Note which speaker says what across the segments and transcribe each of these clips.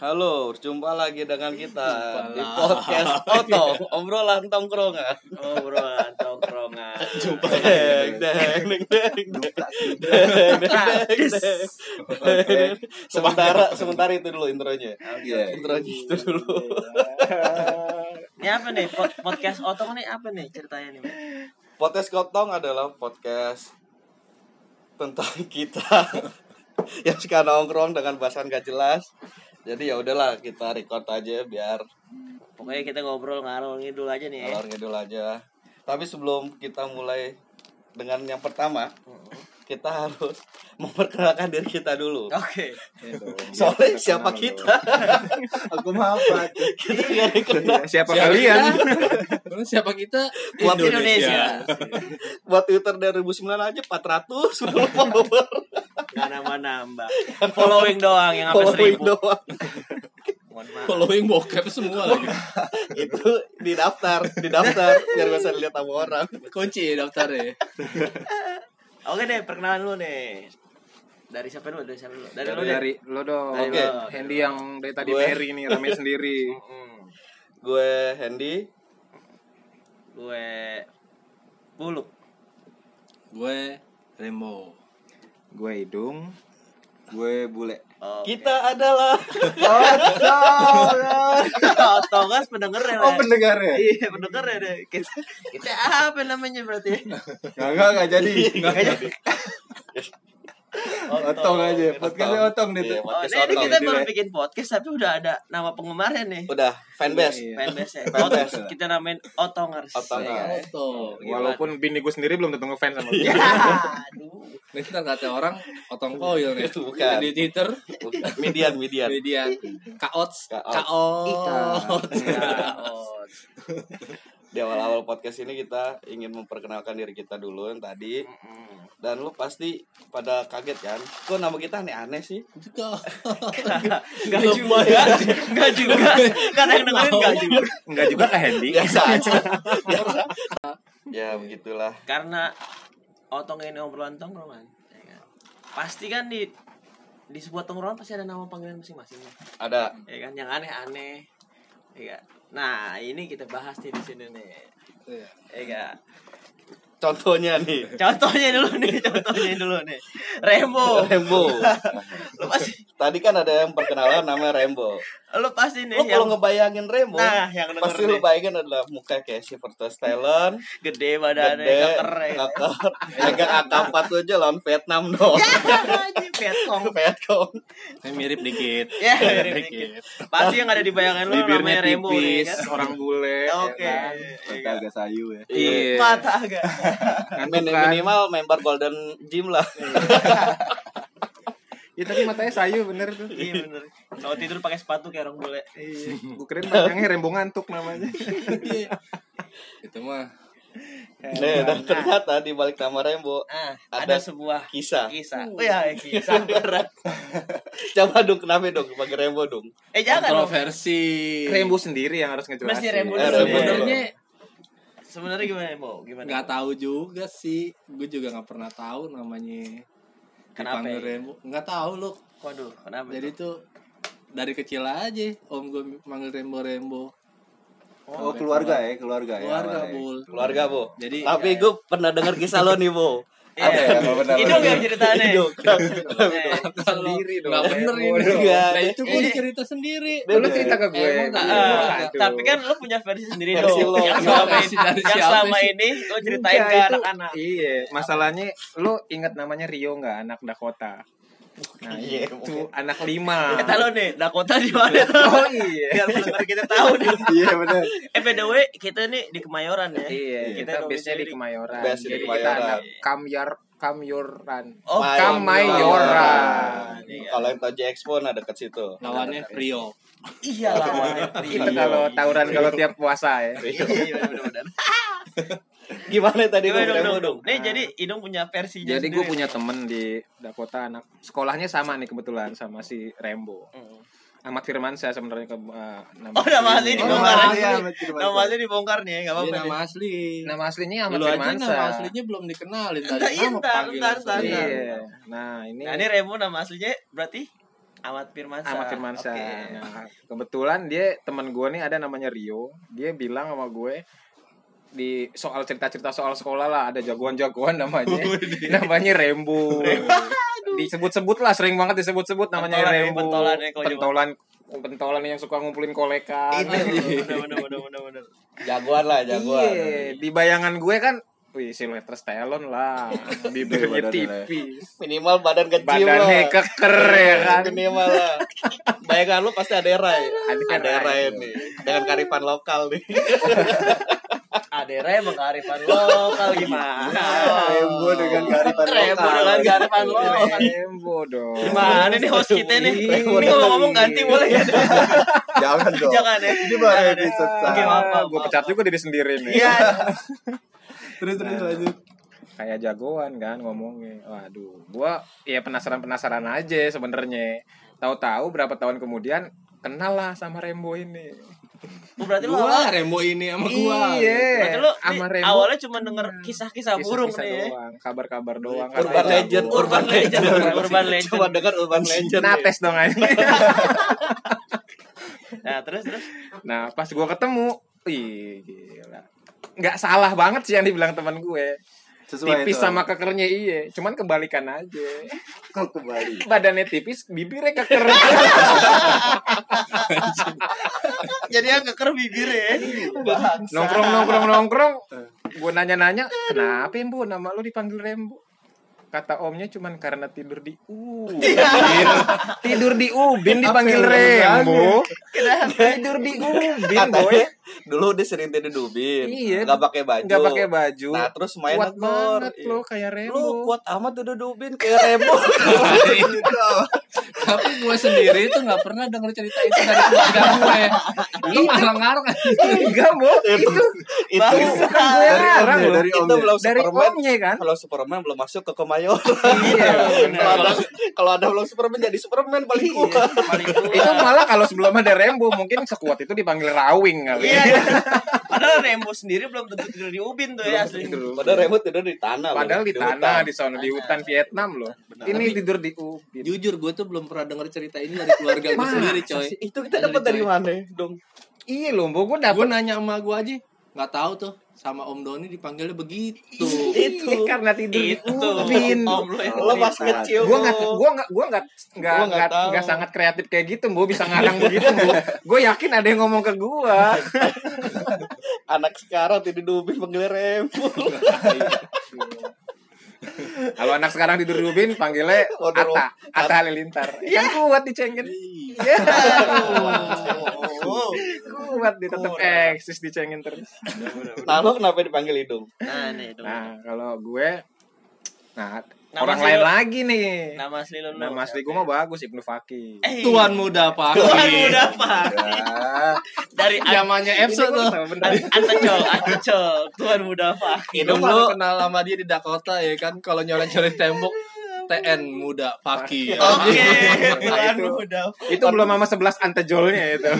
Speaker 1: Halo, jumpa lagi dengan kita
Speaker 2: Jumpa
Speaker 1: di
Speaker 2: lagi.
Speaker 1: podcast Toto, obrolan tongkrongan.
Speaker 2: Oh bro, tongkrongan.
Speaker 3: Jumpa
Speaker 1: Deng, deng, deng, deng, deng,
Speaker 2: Ah,
Speaker 1: deng, deng. Sementara, sementara itu dulu intronya.
Speaker 3: Iya.
Speaker 1: Intronya itu dulu.
Speaker 2: Ini apa nih? Pod- podcast otong nih apa nih ceritanya nih? Bang?
Speaker 1: Podcast Kotong adalah podcast tentang kita yang suka nongkrong dengan bahasan gak jelas. Jadi ya udahlah kita record aja biar
Speaker 2: Pokoknya kita ngobrol ngalor ngidul aja nih. Ya.
Speaker 1: ngalor ngidul aja. Tapi sebelum kita mulai dengan yang pertama, kita harus memperkenalkan diri kita dulu.
Speaker 2: Oke.
Speaker 4: Iya
Speaker 2: iya,
Speaker 1: Soalnya siapa kita? Iya, kan.
Speaker 3: Aku mau apa?
Speaker 1: kita nggak dikenal.
Speaker 3: Nah, Siapa kalian?
Speaker 5: Terus siapa kita?
Speaker 1: Buat
Speaker 2: Indonesia.
Speaker 1: Buat Twitter dari 2009 aja 400 belum follower.
Speaker 2: Gak nambah-nambah. Following doang yang apa
Speaker 1: Following
Speaker 2: seribu.
Speaker 1: doang.
Speaker 2: Mohon maaf.
Speaker 5: Following bokep semua
Speaker 3: Oh.
Speaker 5: lagi.
Speaker 1: Itu di daftar, di daftar biar bisa dilihat sama orang.
Speaker 5: Kunci daftarnya.
Speaker 2: Oke deh, perkenalan lu nih. Dari siapa dulu? Dari siapa dulu? Dari lu
Speaker 3: Dari,
Speaker 2: deh.
Speaker 3: dari lo dong.
Speaker 2: Dari
Speaker 1: Oke.
Speaker 2: lu.
Speaker 3: Handy yang dari tadi
Speaker 1: Gue.
Speaker 3: Mary nih rame sendiri.
Speaker 2: Mm-mm.
Speaker 1: Gue Hendy,
Speaker 2: Gue buluk.
Speaker 5: Gue Rembo.
Speaker 3: Gue hidung. Gue bule.
Speaker 2: Oh,
Speaker 1: kita adalah
Speaker 2: Otongas pendengarnya.
Speaker 3: Oh
Speaker 2: lah.
Speaker 3: pendengar ya?
Speaker 2: Iya, pendengar ya deh. Kita, kita apa namanya berarti?
Speaker 3: Enggak enggak jadi. Enggak Iya, jadi. Otong aja. Podcastnya otong nih.
Speaker 1: Iya,
Speaker 2: Oh,
Speaker 1: podcast
Speaker 2: nah ini
Speaker 1: Otong.
Speaker 2: kita
Speaker 3: Jadi,
Speaker 2: baru
Speaker 3: Re.
Speaker 2: bikin podcast tapi udah ada nama penggemarnya nih.
Speaker 1: Udah fanbase.
Speaker 3: Iya.
Speaker 2: Fanbase.
Speaker 1: Fanbase.
Speaker 2: Ot- kita namain Otongers.
Speaker 1: Otongers.
Speaker 5: Oto.
Speaker 2: Gimana?
Speaker 3: Walaupun bini gue sendiri belum tentu ngefans sama
Speaker 4: Iya,
Speaker 2: Ya,
Speaker 3: dia.
Speaker 2: aduh.
Speaker 5: Ini ntar kata orang otong koil nih.
Speaker 1: Itu bukan.
Speaker 5: Di Twitter,
Speaker 2: iya.
Speaker 1: Median, median.
Speaker 5: media kaots,
Speaker 1: Kaots.
Speaker 5: kaots.
Speaker 2: Ya, oh.
Speaker 1: Di awal-awal podcast ini kita ingin memperkenalkan diri kita dulu yang tadi.
Speaker 2: Mm-mm.
Speaker 1: Dan lu pasti pada kaget kan? Kok nama kita aneh-aneh sih?
Speaker 5: Juga.
Speaker 2: Enggak juga. Enggak juga. Karena yang dengerin enggak
Speaker 4: iya.
Speaker 2: juga.
Speaker 3: Enggak juga lah Handy.
Speaker 1: Biasa aja. Biasa. ya begitulah.
Speaker 2: Karena Otong ini obrolan tongkrongan. ya kan? Pasti kan di di sebuah tongkrongan pasti ada nama panggilan masing-masing.
Speaker 1: Ada
Speaker 2: Ya kan yang aneh-aneh. Ya kan? Nah, ini kita bahas nih di sini nih. Ya kan?
Speaker 1: contohnya nih.
Speaker 2: Contohnya dulu nih, contohnya dulu nih.
Speaker 1: Oh.
Speaker 2: Remo,
Speaker 1: Rembo.
Speaker 2: lu pasti,
Speaker 1: Tadi kan ada yang perkenalan namanya Rembo.
Speaker 2: lu pasti nih
Speaker 1: Lu kalau
Speaker 2: yang
Speaker 1: ngebayangin Rembo,
Speaker 2: nah yang denger
Speaker 1: pasti lu
Speaker 2: nih,
Speaker 1: bayangin adalah muka kayak si Vertus Talent,
Speaker 2: gede badannya,
Speaker 1: gede, Ya, kan,
Speaker 2: keren.
Speaker 1: kakak, agak AK-47 lawan Vietnam dong.
Speaker 2: Ya, Petong.
Speaker 1: Vietcong.
Speaker 5: Saya mirip dikit.
Speaker 2: Ya,
Speaker 5: Mirip
Speaker 2: dikit.
Speaker 5: dikit.
Speaker 2: pasti yang ada di bayangan lu namanya
Speaker 3: Bibirnya
Speaker 2: Remo nih
Speaker 3: tipis,
Speaker 2: kan.
Speaker 3: orang bule. ya
Speaker 2: Oke.
Speaker 3: kan?
Speaker 2: ya kan?
Speaker 4: agak sayu ya.
Speaker 3: Iya.
Speaker 2: Mata agak.
Speaker 3: Kan
Speaker 1: Min-
Speaker 3: bukan.
Speaker 1: minimal member Golden Gym lah.
Speaker 2: Iya,
Speaker 3: Ya tapi matanya sayu bener tuh.
Speaker 2: Iya bener. Kalau tidur pakai sepatu kayak orang bule. Iya.
Speaker 3: Gue keren panjangnya rembo ngantuk namanya.
Speaker 5: Itu mah.
Speaker 1: Nih, dan ternyata di balik nama Rembo
Speaker 2: Ah,
Speaker 1: Ada
Speaker 2: ada, sebuah
Speaker 1: kisah.
Speaker 2: kisah. Oh ya, kisah berat.
Speaker 1: Coba dong kenapa dong pakai Rembo dong.
Speaker 2: Eh jangan. dong.
Speaker 5: Kontroversi.
Speaker 4: Iya.
Speaker 3: Rembo sendiri yang harus ngejelasin.
Speaker 2: Mesti Rembo
Speaker 1: Eh,
Speaker 2: dulu.
Speaker 1: Rembo.
Speaker 5: Sebenarnya
Speaker 2: Sebenarnya gimana, Remo? Gimana?
Speaker 5: nggak tahu juga sih. Gue juga nggak pernah tahu namanya.
Speaker 2: Kenapa
Speaker 5: dipanggil
Speaker 2: ya?
Speaker 5: Rembo. Nggak tahu lu
Speaker 2: Waduh, kenapa?
Speaker 5: Jadi
Speaker 2: tuh?
Speaker 5: tuh dari kecil aja om gue manggil Rembo Rembo.
Speaker 4: Oh, keluarga ya, keluarga ya.
Speaker 5: Keluarga
Speaker 4: awalnya.
Speaker 5: bul.
Speaker 1: Keluarga, Bo.
Speaker 5: Jadi-
Speaker 2: ya.
Speaker 1: tapi gue pernah denger kisah lo nih, Bo.
Speaker 4: Apa
Speaker 2: Iya.
Speaker 4: ya? Apa benar?
Speaker 2: Hidung yang ceritanya.
Speaker 1: Hidung.
Speaker 2: Eh,
Speaker 3: Sendiri dong.
Speaker 5: Nggak bener
Speaker 3: Rembo
Speaker 5: ini.
Speaker 3: dong.
Speaker 1: Enggak.
Speaker 5: Nah itu gue cerita sendiri.
Speaker 3: Lu
Speaker 4: ya.
Speaker 3: cerita ke gue.
Speaker 5: Emang tak-
Speaker 2: ah,
Speaker 5: Iya,
Speaker 3: Aduh.
Speaker 2: tapi kan lu punya versi sendiri
Speaker 1: Versi
Speaker 2: dong.
Speaker 1: lo.
Speaker 2: Yang selama
Speaker 5: Versi
Speaker 2: ini,
Speaker 5: dari
Speaker 2: yang
Speaker 5: siapa
Speaker 2: selama
Speaker 5: sih?
Speaker 2: ini lu
Speaker 3: Enggak,
Speaker 2: ceritain ke
Speaker 3: Iya, itu-
Speaker 2: anak-anak.
Speaker 3: Iya, masalahnya lu ingat namanya Rio nggak anak Dakota? Nah,
Speaker 1: Iya,
Speaker 3: itu anak lima.
Speaker 2: Kita lo Eh, nih, Dakota di mana tuh?
Speaker 3: Oh iya.
Speaker 2: Biar pendengar kita tahu nih.
Speaker 3: Iya benar.
Speaker 2: Eh by the way, kita nih di Kemayoran ya.
Speaker 3: Iya, kita
Speaker 2: domisili
Speaker 3: biasanya di Kemayoran.
Speaker 1: Base di
Speaker 3: Jadi kita
Speaker 1: Kemayoran.
Speaker 3: anak Kamyar Kamyoran.
Speaker 2: Oh,
Speaker 1: Mayoran.
Speaker 3: Kamayoran.
Speaker 2: Iya.
Speaker 1: Kalau yang tau Expo nah dekat situ.
Speaker 5: Lawannya Rio.
Speaker 2: Iya lah.
Speaker 3: Kita kalau tawuran kalau tiap puasa ya.
Speaker 2: Iya, iya, benar-benar.
Speaker 1: Gimana tadi lo
Speaker 2: Gimana dong,
Speaker 1: Rembo
Speaker 2: dong?
Speaker 1: dong?
Speaker 2: Nih jadi Idung punya versi
Speaker 3: Nah. Jadi gue punya temen di Dakota anak sekolahnya sama nih kebetulan sama si Rembo. Ahmad Firmansyah sebenarnya ke eh, nama.
Speaker 2: Oh, nama asli
Speaker 5: Oh,
Speaker 3: aslinya.
Speaker 2: dibongkar
Speaker 5: nama
Speaker 2: aja.
Speaker 3: iya.
Speaker 4: asli,
Speaker 2: nih.
Speaker 4: Ahmad Firmansyah.
Speaker 2: Nama asli dibongkar nih, enggak
Speaker 5: Ini
Speaker 2: apa-apa. nih.
Speaker 5: Iya, nama asli.
Speaker 3: Nama aslinya Ahmad
Speaker 5: Lu aja
Speaker 3: Firmansyah.
Speaker 5: nama aslinya belum dikenalin tadi.
Speaker 2: Entar,
Speaker 5: Nama Iya.
Speaker 2: entar,
Speaker 5: panggilan
Speaker 2: entar, entar.
Speaker 5: sendiri.
Speaker 3: Iya. Nah, ini
Speaker 2: Nah, ini Remo nama aslinya berarti Ahmad Firmansyah.
Speaker 3: Ahmad Firmansyah.
Speaker 2: Oke.
Speaker 3: Nah, kebetulan dia teman gue nih ada namanya Rio. Dia bilang sama gue di soal cerita-cerita soal sekolah lah ada jagoan-jagoan namanya namanya Rembo disebut-sebut lah sering banget disebut-sebut namanya
Speaker 2: Pentolan ya,
Speaker 3: Rembo
Speaker 2: pentolan ya kalau
Speaker 3: pentolan pentolan yang suka ngumpulin kolekan
Speaker 2: Bener bener bener bener bener.
Speaker 1: Jagoan lah, jagoan.
Speaker 3: iya di bayangan gue kan wih siluetres telon lah
Speaker 2: Iya,
Speaker 3: bibirnya
Speaker 4: Badannya lah.
Speaker 3: tipis
Speaker 1: Minimal badan kecil
Speaker 3: badannya
Speaker 1: lah.
Speaker 3: keker
Speaker 2: Iya,
Speaker 3: ya kan
Speaker 1: Minimal lah. Bayangan lu pasti ada erai. Ada
Speaker 3: Ada erai.
Speaker 1: erai nih. Dengan karifan lokal nih.
Speaker 2: Adera emang kearifan lokal gimana?
Speaker 4: Rembo dengan
Speaker 2: Oh.
Speaker 4: kearifan
Speaker 2: Rembo
Speaker 4: lokal.
Speaker 2: dengan kearifan lokal.
Speaker 3: Rembo dong
Speaker 2: Gimana nih host kita nih?
Speaker 3: Iya.
Speaker 2: Ini ngomong-ngomong ganti boleh ya?
Speaker 4: Jangan dong.
Speaker 2: Jangan ya.
Speaker 4: Ini baru
Speaker 2: Jangan ya.
Speaker 4: episode
Speaker 2: Oke,
Speaker 4: satu.
Speaker 2: maaf, maaf,
Speaker 3: gue
Speaker 2: maaf.
Speaker 3: pecat juga diri sendiri nih
Speaker 2: Iya.
Speaker 5: Terus terus
Speaker 3: Nah.
Speaker 5: lanjut.
Speaker 3: kayak jagoan kan ngomongnya waduh gua ya penasaran penasaran aja sebenarnya tahu-tahu berapa tahun kemudian kenal lah sama Rembo ini
Speaker 2: Oh, Berarti lu
Speaker 5: Gua
Speaker 2: awal-
Speaker 5: Rembo ini sama gua.
Speaker 2: berarti lu
Speaker 3: Iya. sama
Speaker 2: nih,
Speaker 3: Rembo
Speaker 2: awalnya cuma denger kisah-kisah burung
Speaker 3: kisah-kisah
Speaker 2: nih. ya.
Speaker 3: doang kabar-kabar doang
Speaker 1: Urban
Speaker 3: katanya.
Speaker 1: legend,
Speaker 2: Urban legend, urban
Speaker 1: Coba
Speaker 2: legend.
Speaker 1: dengar urban legend. nih.
Speaker 3: nates dong aja
Speaker 2: Nah, terus terus
Speaker 3: nah pas gua ketemu ih gila nggak salah banget sih yang dibilang teman gue
Speaker 4: Sesuai
Speaker 3: tipis
Speaker 4: itu.
Speaker 3: sama kekernya iya cuman kebalikan aja
Speaker 4: kok kembali.
Speaker 3: badannya tipis bibirnya keker
Speaker 2: jadinya keker bibir ya.
Speaker 3: nongkrong nongkrong nongkrong gue nanya nanya Eh. kenapa bu nama lu dipanggil rembo kata omnya cuman karena tidur di ubin
Speaker 1: Iya.
Speaker 3: tidur di ubin dipanggil rembo tidur di ubin boy
Speaker 1: Katanya dulu dia sering tidur dubin.
Speaker 3: Iya.
Speaker 1: Nggak pakai baju.
Speaker 3: nggak pakai baju
Speaker 1: Nah, terus main
Speaker 3: kuat
Speaker 1: negor.
Speaker 3: banget lo kayak rembo
Speaker 1: Lu kuat amat tidur dubin kayak Rembo.
Speaker 5: Tapi gua sendiri tuh nggak pernah denger cerita itu dari keluarga gue. Lu malah ngarang
Speaker 3: ya. enggak bu itu
Speaker 1: itu
Speaker 3: bukan gue larang
Speaker 4: omnya,
Speaker 3: lo
Speaker 4: dari
Speaker 1: itu
Speaker 4: omnya.
Speaker 1: belum
Speaker 3: dari
Speaker 1: Superman.
Speaker 3: omnya kan
Speaker 1: Kalau Superman belum masuk ke Kemayoran.
Speaker 3: iya
Speaker 1: Kalau ada, kalau ada belum Superman jadi Superman paling kuat.
Speaker 2: Paling tua.
Speaker 3: itu malah kalau sebelum ada rembo mungkin sekuat itu dipanggil rawing kali ya.
Speaker 2: Iya. Padahal Rembo sendiri belum tentu tidur di Ubin tuh ya asli.
Speaker 1: Padahal Rembo tidur di tanah. loh,
Speaker 3: Padahal di Ah. tanah,
Speaker 1: hutan.
Speaker 3: di sana, di hutan Vietnam loh. Ini tidur di Ubin.
Speaker 5: Jujur gue tuh belum pernah denger cerita ini dari keluarga gue
Speaker 3: Masa
Speaker 5: sendiri coy.
Speaker 1: Itu kita dapat dari mana dong?
Speaker 3: Iya loh, Mbok, gua
Speaker 5: Gue
Speaker 3: dapet
Speaker 5: nanya sama gue aja nggak tahu tuh sama Om Doni dipanggilnya begitu.
Speaker 3: itu karena tidur di
Speaker 2: Itu Gitu.
Speaker 3: Ubin.
Speaker 2: om lu yang
Speaker 1: Lo pas
Speaker 4: Hutan.
Speaker 1: kecil. lo-
Speaker 3: Gua nggak, gua nggak, Ya gua nggak, nggak,
Speaker 1: Gua nggak
Speaker 3: nggak,
Speaker 1: tahu.
Speaker 3: nggak sangat kreatif kayak gitu, Mbok bisa ngarang begitu, Mbok. Gue yakin ada yang ngomong ke gua.
Speaker 1: anak sekarang tidur dubin panggil Rembo.
Speaker 3: Kalau anak sekarang tidur di Ubin, panggilnya
Speaker 1: Waduh,
Speaker 3: Ata, Ata Halilintar. Yang kuat dicengin. Iya.
Speaker 2: Oh.
Speaker 3: Kuat, dia tetap eksis dicengin terus.
Speaker 1: Nah lo kenapa dipanggil hidung?
Speaker 2: Nah, nih dong.
Speaker 3: Nah, kalau gue, nah,
Speaker 2: Nama
Speaker 3: orang
Speaker 2: asli
Speaker 3: lain
Speaker 2: lu-
Speaker 3: lagi nih.
Speaker 2: Nama asli lu.
Speaker 3: Nama asli gue mah bagus Ibnu Fakih.
Speaker 2: Eh,
Speaker 5: Iya. Tuan muda Iya. pak.
Speaker 2: Tuan muda Pak.
Speaker 4: Ya.
Speaker 2: Dari
Speaker 3: Iya,
Speaker 2: An-
Speaker 5: Zamannya Epso tuh.
Speaker 2: An- Antecol, Antecol, Tuan muda Pak.
Speaker 5: Hidung lu kenal sama dia di Dakota ya kan kalau nyoret-nyoret tembok TN muda paki. Oh.
Speaker 2: Oke, Tuan
Speaker 3: itu.
Speaker 2: muda Pak.
Speaker 3: Itu belum sama 11 antejolnya itu.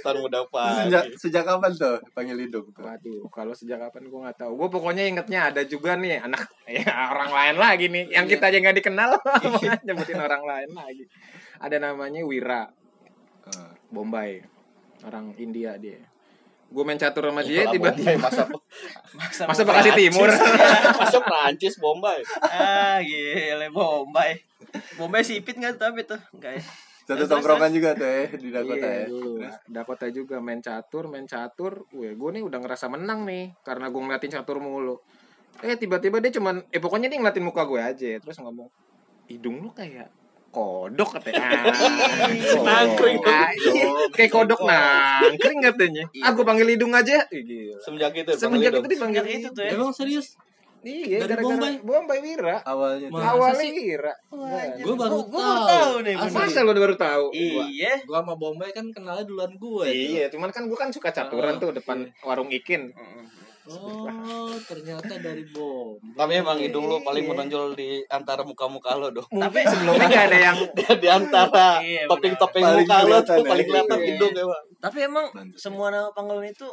Speaker 1: Tahun muda
Speaker 4: Sejak
Speaker 1: pagi.
Speaker 4: sejak kapan tuh panggil hidung tuh?
Speaker 3: Waduh, kalau sejak kapan gue nggak tahu. Gue pokoknya ingetnya ada juga nih anak ya, orang lain lagi nih yang kita aja nggak dikenal nyebutin orang lain lagi. Ada namanya Wira eh,
Speaker 4: Ah.
Speaker 3: Bombay. Orang India dia. Gue main catur sama
Speaker 1: Kalau
Speaker 3: dia
Speaker 1: Bombay,
Speaker 3: tiba-tiba
Speaker 1: masa
Speaker 3: masa Bekasi Timur.
Speaker 1: masa Prancis Bombay.
Speaker 2: Ah, gile Bombay. Bombay sipit enggak tapi tuh? Enggak ya.
Speaker 4: Satu
Speaker 2: Terus,
Speaker 4: tongkrongan juga tuh ya di Dakota
Speaker 3: Iya,
Speaker 4: ya.
Speaker 3: dulu. Dakota juga main catur, main catur. Wih, gue nih udah ngerasa menang nih karena gue ngeliatin catur mulu. Eh tiba-tiba dia cuman, eh pokoknya dia ngeliatin muka gue aja, terus ngomong, hidung lu kayak kodok katanya. Ah,
Speaker 1: Nangkring.
Speaker 3: ah, iya. kayak kodok nangkring katanya. Ah gue panggil hidung aja. Ih, gila.
Speaker 1: Semenjak itu dipanggil
Speaker 3: Semenjak
Speaker 1: Iya, hidung.
Speaker 3: itu dipanggil
Speaker 2: Yang itu tuh ya.
Speaker 5: Emang serius?
Speaker 3: Iya,
Speaker 5: Dari
Speaker 3: gara-gara
Speaker 5: Bombay?
Speaker 3: Bombay Wira.
Speaker 4: Awalnya tuh.
Speaker 5: Masa
Speaker 3: Awalnya
Speaker 5: sih?
Speaker 3: Wira.
Speaker 5: Gue baru
Speaker 2: Gua baru tahu
Speaker 5: tahu.
Speaker 2: nih.
Speaker 5: Asli.
Speaker 2: bener.
Speaker 3: Masa lu baru tahu?
Speaker 2: Iya.
Speaker 5: Gue sama Bombay kan kenalnya duluan gue.
Speaker 3: Iya, cuman kan gue kan suka caturan tuh depan warung ikin.
Speaker 5: Oh, ternyata dari bom.
Speaker 1: Tapi emang hidung lo paling
Speaker 3: Iya.
Speaker 1: menonjol di antara muka-muka lo dong.
Speaker 3: Mungkin sebelumnya gak ada yang
Speaker 1: di antara
Speaker 2: Iya, benar.
Speaker 1: topeng-topeng
Speaker 4: Paling
Speaker 1: muka lo
Speaker 4: kelihatan
Speaker 3: Iya.
Speaker 1: tuh
Speaker 4: ya.
Speaker 1: paling kelihatan
Speaker 4: Iya.
Speaker 1: hidung emang.
Speaker 2: Tapi emang semua nama panggilan itu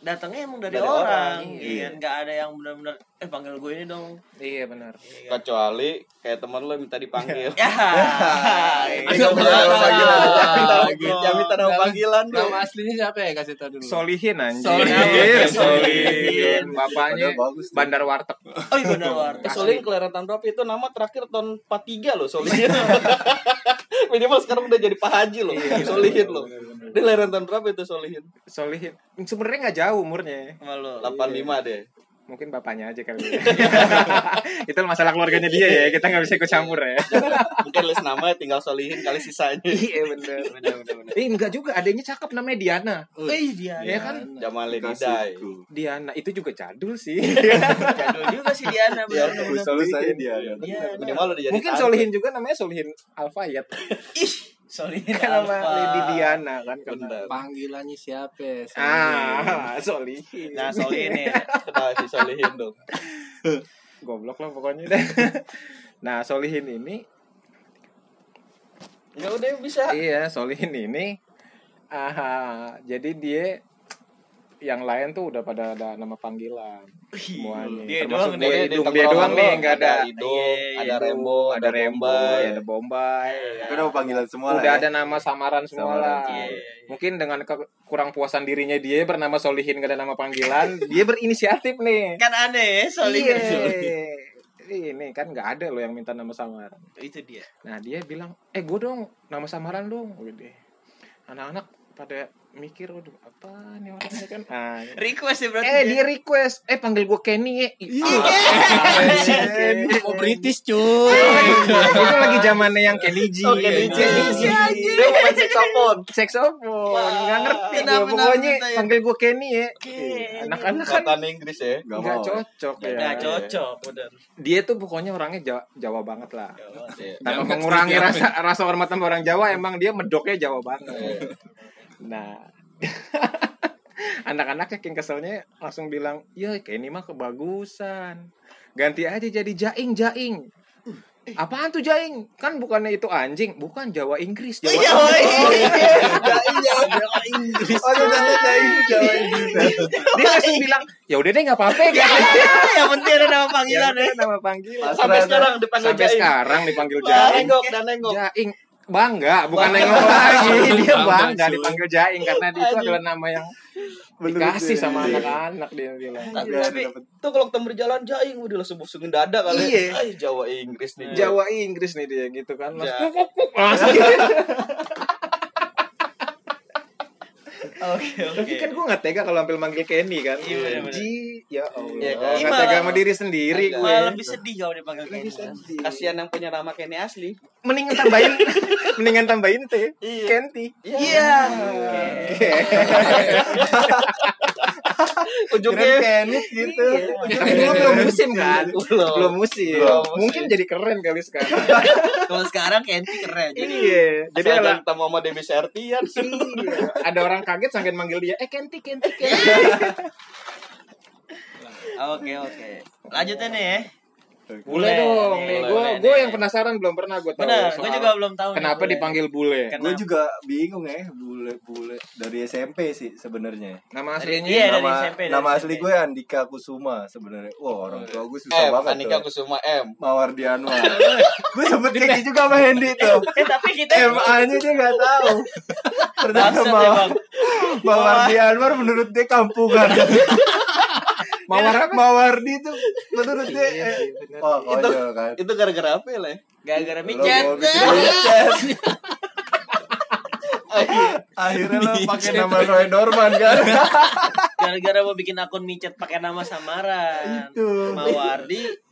Speaker 2: datangnya emang dari,
Speaker 1: Dari
Speaker 2: orang,
Speaker 1: orang,
Speaker 2: iya. kan? nggak ada yang benar-benar eh panggil gue ini dong
Speaker 3: Iya benar.
Speaker 1: kecuali kayak teman lo minta dipanggil
Speaker 2: ya
Speaker 1: Ini yang minta nama panggilan
Speaker 3: Iya,
Speaker 1: yang minta yang minta nama panggilan
Speaker 5: Nama aslinya siapa ya kasih tau dulu.
Speaker 3: Solihin anjing.
Speaker 5: Solihin.
Speaker 3: Solihin. Bapaknya
Speaker 4: Padahal bagus tuh.
Speaker 3: Bandar Warteg.
Speaker 2: oh iya benar war
Speaker 1: Eh, Solin kelahiran tahun berapa itu nama terakhir tahun 43 loh Solihin. Minimal sekarang udah jadi Pak Haji
Speaker 3: Iya,
Speaker 1: loh. Solihin loh. Dia kelahiran tahun berapa itu Solihin?
Speaker 3: Solihin. Sebenarnya nggak jauh umurnya.
Speaker 2: malu
Speaker 3: iya.
Speaker 1: 85 deh.
Speaker 3: Mungkin bapaknya aja kali. ya. Itu masalah keluarganya dia ya. Kita nggak bisa ikut campur ya.
Speaker 1: Mungkin list nama tinggal Solihin kali sisanya.
Speaker 3: Iya benar. Benar benar. Eh enggak juga. Adanya cakep namanya Diana.
Speaker 2: eh dia
Speaker 3: Iya kan?
Speaker 1: Jamalin Hidai.
Speaker 4: Kasihku.
Speaker 3: Diana itu juga jadul sih.
Speaker 2: jadul juga sih Iya, Diana
Speaker 4: Ya,
Speaker 2: benar benar
Speaker 4: selalu saya dia. ya.
Speaker 1: Minimal udah jadi
Speaker 3: Mungkin
Speaker 1: tante.
Speaker 3: Solihin juga namanya Solihin Alfayat.
Speaker 2: ih Solihin
Speaker 3: Kan nama
Speaker 2: Alfa.
Speaker 3: Lady Diana kan karena
Speaker 1: Bener.
Speaker 5: Panggilannya siapa? ya?
Speaker 3: Ah, Solihin.
Speaker 2: nah Solihin ya
Speaker 1: Kenal si Solihin dong.
Speaker 3: goblok lah pokoknya deh. nah, Solihin ini
Speaker 1: Ya udah bisa.
Speaker 3: iya, Solihin ini ah jadi dia yang lain tuh udah pada ada nama panggilan semuanya.
Speaker 2: Dia
Speaker 3: Termasuk
Speaker 2: doang
Speaker 3: dia,
Speaker 1: Pokoknya di
Speaker 3: hidung dia
Speaker 1: tongkrongan
Speaker 3: doang
Speaker 1: lo
Speaker 3: nih nggak ada
Speaker 1: hidung,
Speaker 2: Iya,
Speaker 1: ada
Speaker 3: Hidung,
Speaker 1: rembo,
Speaker 3: ada rembo, iya, ada bombay.
Speaker 4: Itu nama panggilan semua lah
Speaker 3: Iya. Udah
Speaker 4: ya.
Speaker 3: ada nama samaran semua
Speaker 4: Samaran,
Speaker 3: lah.
Speaker 4: iya,
Speaker 2: iya.
Speaker 3: Mungkin dengan ke- kurang puasan dirinya dia bernama Solihin gak ada nama panggilan, dia berinisiatif nih.
Speaker 2: kan aneh ya Solihin
Speaker 3: Iya. Ini kan nggak ada loh yang minta nama samaran.
Speaker 2: itu dia
Speaker 3: Nah dia bilang, eh gue dong nama samaran dong. Gede. Anak-anak pada mikir, waduh apa nih orangnya kan. Ah,
Speaker 2: request ya berarti
Speaker 3: eh dia request, eh panggil gue Kenny ya. Ih, apaan sih, Kenny?
Speaker 5: Mau British cuy.
Speaker 3: Itu lagi zamannya yang Iya. Oh, Kenny G.
Speaker 1: Oke, DJ. Dia mau main saksofon.
Speaker 3: Saxophone, nggak ngerti gue.
Speaker 2: Kenapa
Speaker 3: Pokoknya
Speaker 2: namanya?
Speaker 3: panggil gue Kenny ya.
Speaker 2: Kenny.
Speaker 3: Anak-anak kan
Speaker 1: Kata Inggris ya.
Speaker 4: Gak
Speaker 3: nggak
Speaker 4: mau. ya.
Speaker 3: cocok ya.
Speaker 2: nggak cocok udah
Speaker 3: Dia tuh pokoknya orangnya Jawa, Jawa banget lah.
Speaker 1: Iya.
Speaker 5: Jangan
Speaker 3: Tanpa mengurangi
Speaker 5: sih,
Speaker 3: rasa rasa hormat sama orang Jawa, emang dia medoknya Jawa banget. Nah, anak-anak yang keselnya langsung bilang, ya kayak ini mah kebagusan. Ganti aja jadi jaing jaing. Apaan tuh jaing? Kan bukannya itu anjing, bukan Jawa Inggris. Jawa Inggris.
Speaker 2: iya.
Speaker 4: Oh,
Speaker 2: Oh,
Speaker 4: udah udah, udah, udah, udah.
Speaker 3: Dia langsung bilang, ya udah deh nggak apa-apa. nggak
Speaker 2: iya,
Speaker 3: apa-apa."
Speaker 2: yang penting ada nama
Speaker 3: Ya
Speaker 2: panggilan
Speaker 3: udah, nama panggilan.
Speaker 1: Sampai sekarang dipanggil
Speaker 3: Sampai
Speaker 1: Jaim.
Speaker 3: sekarang dipanggil
Speaker 1: Dan
Speaker 3: jaing.
Speaker 1: nengok dan nengok.
Speaker 3: Jaing bangga, bukan nengok lagi. Dia
Speaker 5: Bangga,
Speaker 3: bangga
Speaker 5: cuy.
Speaker 3: dipanggil jaing karena itu adalah nama yang
Speaker 4: Bener,
Speaker 3: dikasih
Speaker 4: cuy.
Speaker 3: sama anak-anak dia bilang.
Speaker 1: Tapi,
Speaker 4: Iya,
Speaker 1: tapi
Speaker 4: dia dapet.
Speaker 1: tuh kalau ketemu di jalan jaing udah langsung busungin dada kali.
Speaker 3: Iya.
Speaker 1: Ay, Jawa Inggris nih.
Speaker 3: Jawa Inggris nih dia gitu kan. Mas,
Speaker 1: Ja-
Speaker 3: kuk, kuk, kuk.
Speaker 2: oke oke
Speaker 3: Tapi kan gue gak tega kalau hampir manggil Kenny kan.
Speaker 2: Iya, bener-bener.
Speaker 3: Ji, ya Allah.
Speaker 1: Iya kan?
Speaker 3: Gak tega sama diri sendiri
Speaker 1: Agak.
Speaker 3: gue.
Speaker 2: malah Iya. lebih sedih kalau dipanggil Kenny kan.
Speaker 1: Kasihan yang punya nama Kenny asli.
Speaker 3: Mendingan tambahin, mendingan tambahin teh. Kenti.
Speaker 2: iya
Speaker 3: Keren
Speaker 1: Ujungnya
Speaker 3: Kenny gitu. Tapi
Speaker 1: Iya.
Speaker 3: dulu belum musim kan.
Speaker 1: Belum.
Speaker 3: Belum musim.
Speaker 1: Belum.
Speaker 3: Mungkin jadi keren kali sekarang.
Speaker 2: kalau sekarang Kenny keren jadi
Speaker 3: Iya. Jadi
Speaker 1: jadi ada
Speaker 3: ala-
Speaker 1: ketemu sama Debbie Sertian sih.
Speaker 3: Iya. ada orang kaget sambil manggil dia, eh Kenti, Kenti, Kenti.
Speaker 2: oke oke lanjutnya nih ya
Speaker 3: Bule dong.
Speaker 2: Bule,
Speaker 3: Gue
Speaker 2: bule,
Speaker 3: gue
Speaker 2: bule.
Speaker 3: yang penasaran belum pernah gue tahu.
Speaker 2: benar
Speaker 3: soal
Speaker 2: gue juga belum tahu nih,
Speaker 3: Kenapa
Speaker 2: bule. Kan
Speaker 3: dipanggil bule?
Speaker 2: Kenapa?
Speaker 4: Gue juga bingung ya, bule-bule dari SMP sih sebenarnya.
Speaker 3: Nama
Speaker 2: Dari-
Speaker 3: aslinya
Speaker 2: iya, dari
Speaker 4: nama
Speaker 2: SMP, dari
Speaker 4: nama
Speaker 2: SMP.
Speaker 4: asli gue Andika Kusuma sebenarnya. Wah, orang tua gue
Speaker 2: Eh,
Speaker 4: susah
Speaker 1: M,
Speaker 4: banget.
Speaker 1: Anika
Speaker 4: tuh.
Speaker 1: Kusuma M.
Speaker 4: Mawar Dianwar. gue sempet kayak juga sama Hendy tuh.
Speaker 2: eh tapi kita
Speaker 4: MA-nya dia nggak tahu. Ternyata
Speaker 2: Bangsat ya,
Speaker 4: Mawar,
Speaker 2: Bang.
Speaker 4: Mawar Dianwar menurut dia kampungan.
Speaker 3: Mawar apa?
Speaker 4: Mawardi tuh menurut dia
Speaker 3: Iya
Speaker 4: eh,
Speaker 3: sih, bener.
Speaker 4: oh,
Speaker 1: Itu
Speaker 4: konyol kan.
Speaker 1: itu gara-gara apa ya? Le?
Speaker 2: gara-gara
Speaker 4: Lo
Speaker 2: mijet
Speaker 4: mau bikin micet. Akhirnya lo pakai nama Roy Norman kan.
Speaker 2: gara-gara mau bikin akun micet pakai nama samaran
Speaker 4: Itu.
Speaker 2: Mawardi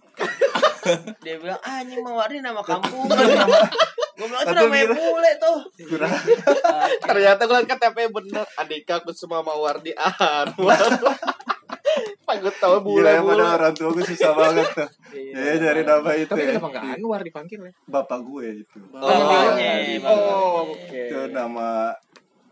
Speaker 2: dia bilang ah ini Mawardi nama kampung gue bilang itu
Speaker 4: Atau
Speaker 2: namanya
Speaker 4: bilang-
Speaker 2: bule tuh
Speaker 4: Kurang-
Speaker 1: Ternyata gue liat KTP bener Andika Kusuma Mawardi Anwar. Pak gue tau
Speaker 4: Gila ya pada
Speaker 1: bule-bule.
Speaker 4: orang tua gue susah banget tuh. Ya dari nama itu.
Speaker 3: Tapi
Speaker 4: ya.
Speaker 3: kenapa nggak Anwar dipanggil ya?
Speaker 4: Bapak gue itu.
Speaker 1: Oh,
Speaker 2: Bapaknya,
Speaker 1: iya.
Speaker 2: bapaknya.
Speaker 3: Oh, oke.
Speaker 4: Itu nama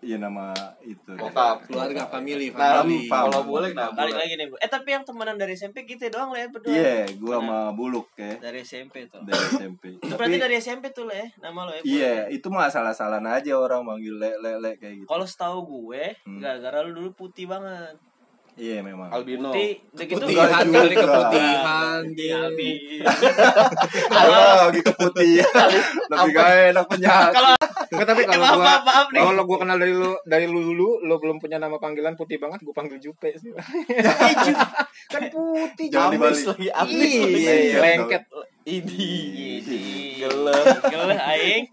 Speaker 4: ya nama itu.
Speaker 1: Bokap.
Speaker 5: Keluarga, family,
Speaker 1: Nah,
Speaker 4: Family.
Speaker 1: kalau boleh kenapa?
Speaker 2: balik lagi nih Bu. eh tapi yang temenan dari SMP gitu doang lah ya berdua
Speaker 4: Iya, gue sama Buluk ya
Speaker 2: dari SMP tuh
Speaker 4: dari SMP.
Speaker 2: itu berarti
Speaker 4: Tapi
Speaker 2: dari SMP tuh lah ya nama lo ya Bu.
Speaker 4: Iya, itu mah salah-salahan aja orang manggil le le le kayak gitu.
Speaker 2: kalau setahu gue gara-gara lu dulu putih banget
Speaker 4: Iya memang.
Speaker 1: albino
Speaker 2: Di begitu
Speaker 4: Putihan
Speaker 5: Keputihan kali
Speaker 4: juga.
Speaker 5: keputihan.
Speaker 2: Albi.
Speaker 4: Ayo lagi keputih. Lebih gitu, gak enak penjahat.
Speaker 2: Kalau
Speaker 3: Enggak tapi
Speaker 2: Kenapa,
Speaker 3: kalau gua
Speaker 2: Eh,
Speaker 3: Oh,
Speaker 2: maaf nih.
Speaker 3: kalau gua kenal dari lu dari lu dulu, lu belum punya nama panggilan putih banget, gua panggil Jupe sih. kan putih
Speaker 4: Jangan
Speaker 3: Jupe.
Speaker 4: dibalik.
Speaker 1: abis lagi abis
Speaker 3: Iya,
Speaker 1: lagi
Speaker 4: Lengket.
Speaker 3: lengket.
Speaker 1: ini
Speaker 2: Ini.
Speaker 1: Geleh.
Speaker 2: Geleh aing.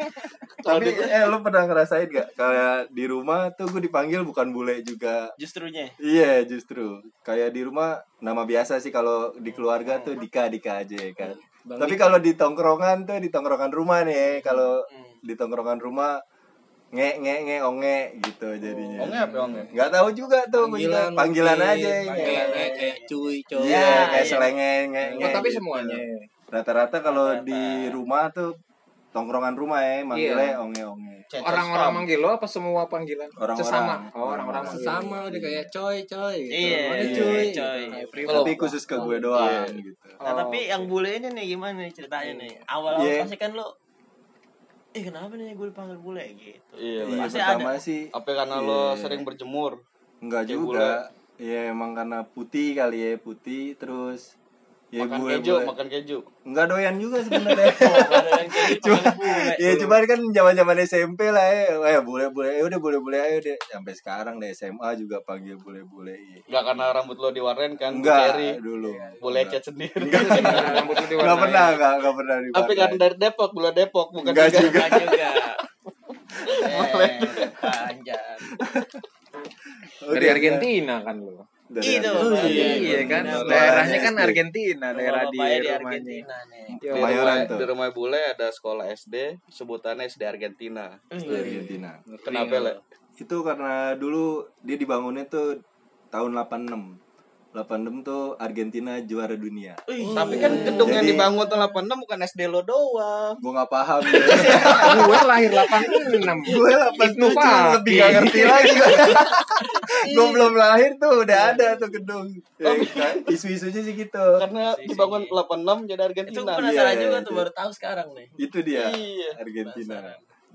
Speaker 4: Tapi eh lu pernah ngerasain gak kayak di rumah tuh gue dipanggil bukan bule juga.
Speaker 2: Justrunya.
Speaker 4: Iya justru kayak di rumah nama biasa sih kalau di keluarga tuh Dika Dika aja ya kan.
Speaker 5: Bang
Speaker 4: Tapi kalau di tongkrongan tuh di tongkrongan rumah nih kalau di tongkrongan rumah nge nge nge onge gitu jadinya.
Speaker 1: onge apa ya, onge
Speaker 4: Nggak tahu juga tuh panggilan, panggilan aja.
Speaker 5: Panggilan
Speaker 4: nge.
Speaker 5: aja kayak cuy, coy.
Speaker 4: Iya kayak
Speaker 2: iya.
Speaker 4: selenge nge nge.
Speaker 3: Oh, tapi
Speaker 4: gitu.
Speaker 3: semuanya.
Speaker 4: Rata-rata kalau di rumah tuh tongkrongan rumah ya manggilnya
Speaker 3: Iya.
Speaker 4: onge onge.
Speaker 1: Cecos
Speaker 3: Orang-orang
Speaker 1: Farm.
Speaker 3: manggil lo apa semua panggilan?
Speaker 4: Orang-orang.
Speaker 3: Sesama. Oh, orang-orang manggil.
Speaker 5: Sesama udah kayak coy, coy. gitu.
Speaker 2: Iya,
Speaker 5: Mana
Speaker 4: iya,
Speaker 5: cuy.
Speaker 2: coy.
Speaker 5: Kayak free
Speaker 4: Tapi khusus ke
Speaker 1: Oh, iya.
Speaker 4: gue doang gitu.
Speaker 2: Nah,
Speaker 3: Oh,
Speaker 2: tapi yang bule ini nih gimana nih ceritanya nih? Awal-awal
Speaker 4: Iya.
Speaker 2: pasti kan lu eh kenapa nih gue dipanggil bule gitu.
Speaker 1: iya
Speaker 4: Iya,
Speaker 1: lah.
Speaker 2: Pasti
Speaker 4: pertama
Speaker 2: ada.
Speaker 4: sih
Speaker 1: apa ya, karena lo
Speaker 4: Iya.
Speaker 1: sering berjemur
Speaker 4: Enggak
Speaker 1: Kayak
Speaker 4: juga. Ya emang karena putih kali ya, putih terus ya
Speaker 1: makan
Speaker 4: gue
Speaker 1: keju
Speaker 4: mulai-
Speaker 1: makan Oh, keju
Speaker 4: Enggak doyan juga sebenarnya.
Speaker 2: Padahal kayak
Speaker 1: gitu,
Speaker 2: dipanggil bule.
Speaker 4: ya cuman kan zaman-zaman SMP lah ya. Eh boleh-boleh ya udah boleh-boleh ayo deh. Sampai sekarang deh SMA juga panggil boleh-boleh. Iya.
Speaker 1: nggak karena rambut lo diwarnain kan Bu Cherry.
Speaker 4: Enggak dulu.
Speaker 1: boleh cat sendiri
Speaker 3: Rambut lu diwarnain.
Speaker 4: Enggak pernah, enggak enggak pernah
Speaker 1: tapi
Speaker 4: dipakai.
Speaker 1: karena dari Depok bule Depok bukan
Speaker 4: Enggak
Speaker 1: juga.
Speaker 4: juga.
Speaker 2: Enggak juga. Eh, panjang. Iya,
Speaker 3: Dari Argentina kan lo.
Speaker 4: Iya. Dari
Speaker 2: Itu.
Speaker 4: Argentina.
Speaker 2: Iya,
Speaker 3: Iya kan,
Speaker 4: benar.
Speaker 3: daerahnya kan
Speaker 4: SD.
Speaker 3: Argentina, daerah di
Speaker 2: Bapaknya Iya. di
Speaker 3: rumahnya.
Speaker 2: Argentina nih.
Speaker 4: Di
Speaker 1: di rumah,
Speaker 4: Kemayoran Iya, tuh.
Speaker 1: di rumah bule ada sekolah SD sebutannya SD Argentina
Speaker 4: Di Argentina.
Speaker 1: kenapa le
Speaker 4: itu karena dulu dia dibangunnya tuh tahun 86 86 tuh Argentina juara dunia
Speaker 1: tapi kan gedung yang
Speaker 4: Jadi-
Speaker 1: dibangun tahun 86 bukan SD lo doang
Speaker 4: gue nggak paham ya.
Speaker 3: Gue lahir 86.
Speaker 4: gue 87
Speaker 3: Itu Pak.
Speaker 4: lebih gak ngerti lagi gue belum lahir tuh udah ada tuh gedung Ya, isu-isunya sih gitu
Speaker 1: karena dibangun 86 jadi
Speaker 2: Itu
Speaker 1: Argentina
Speaker 2: gue penasaran
Speaker 4: Iya,
Speaker 2: juga
Speaker 4: itu.
Speaker 2: tuh baru tahu sekarang nih.
Speaker 4: itu dia
Speaker 1: Iya.
Speaker 4: Argentina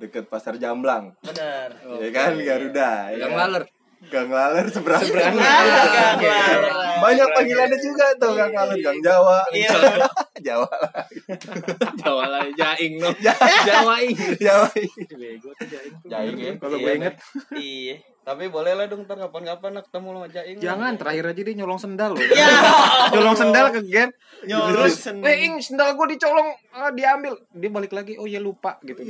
Speaker 4: deket pasar Jamblang
Speaker 2: Benar.
Speaker 4: ya kan Garuda ya
Speaker 5: Yang
Speaker 4: kan?
Speaker 5: laler. Iya.
Speaker 4: Gang Laler seberang
Speaker 2: Benar.
Speaker 4: banyak panggilannya juga tuh Gang Laler Gang Jawa
Speaker 2: Iya.
Speaker 4: Jawa
Speaker 5: Jawa lah, jaing dong. Jawa Inggris.
Speaker 4: Jawa
Speaker 5: Bego tuh jaing.
Speaker 1: Jaing ya. Iya,
Speaker 3: Kalau gue
Speaker 1: nih.
Speaker 3: inget,
Speaker 2: Iya.
Speaker 1: Tapi boleh lah dong ntar kapan-kapan nak ketemu lo sama Jaing.
Speaker 3: jangan terakhir aja dia nyolong sendal loh.
Speaker 2: Ya.
Speaker 3: Nyolong sendal ke game.
Speaker 2: Terus
Speaker 3: Eh, ing sendal gue dicolong, ah, diambil. Dia balik lagi, oh ya lupa gitu.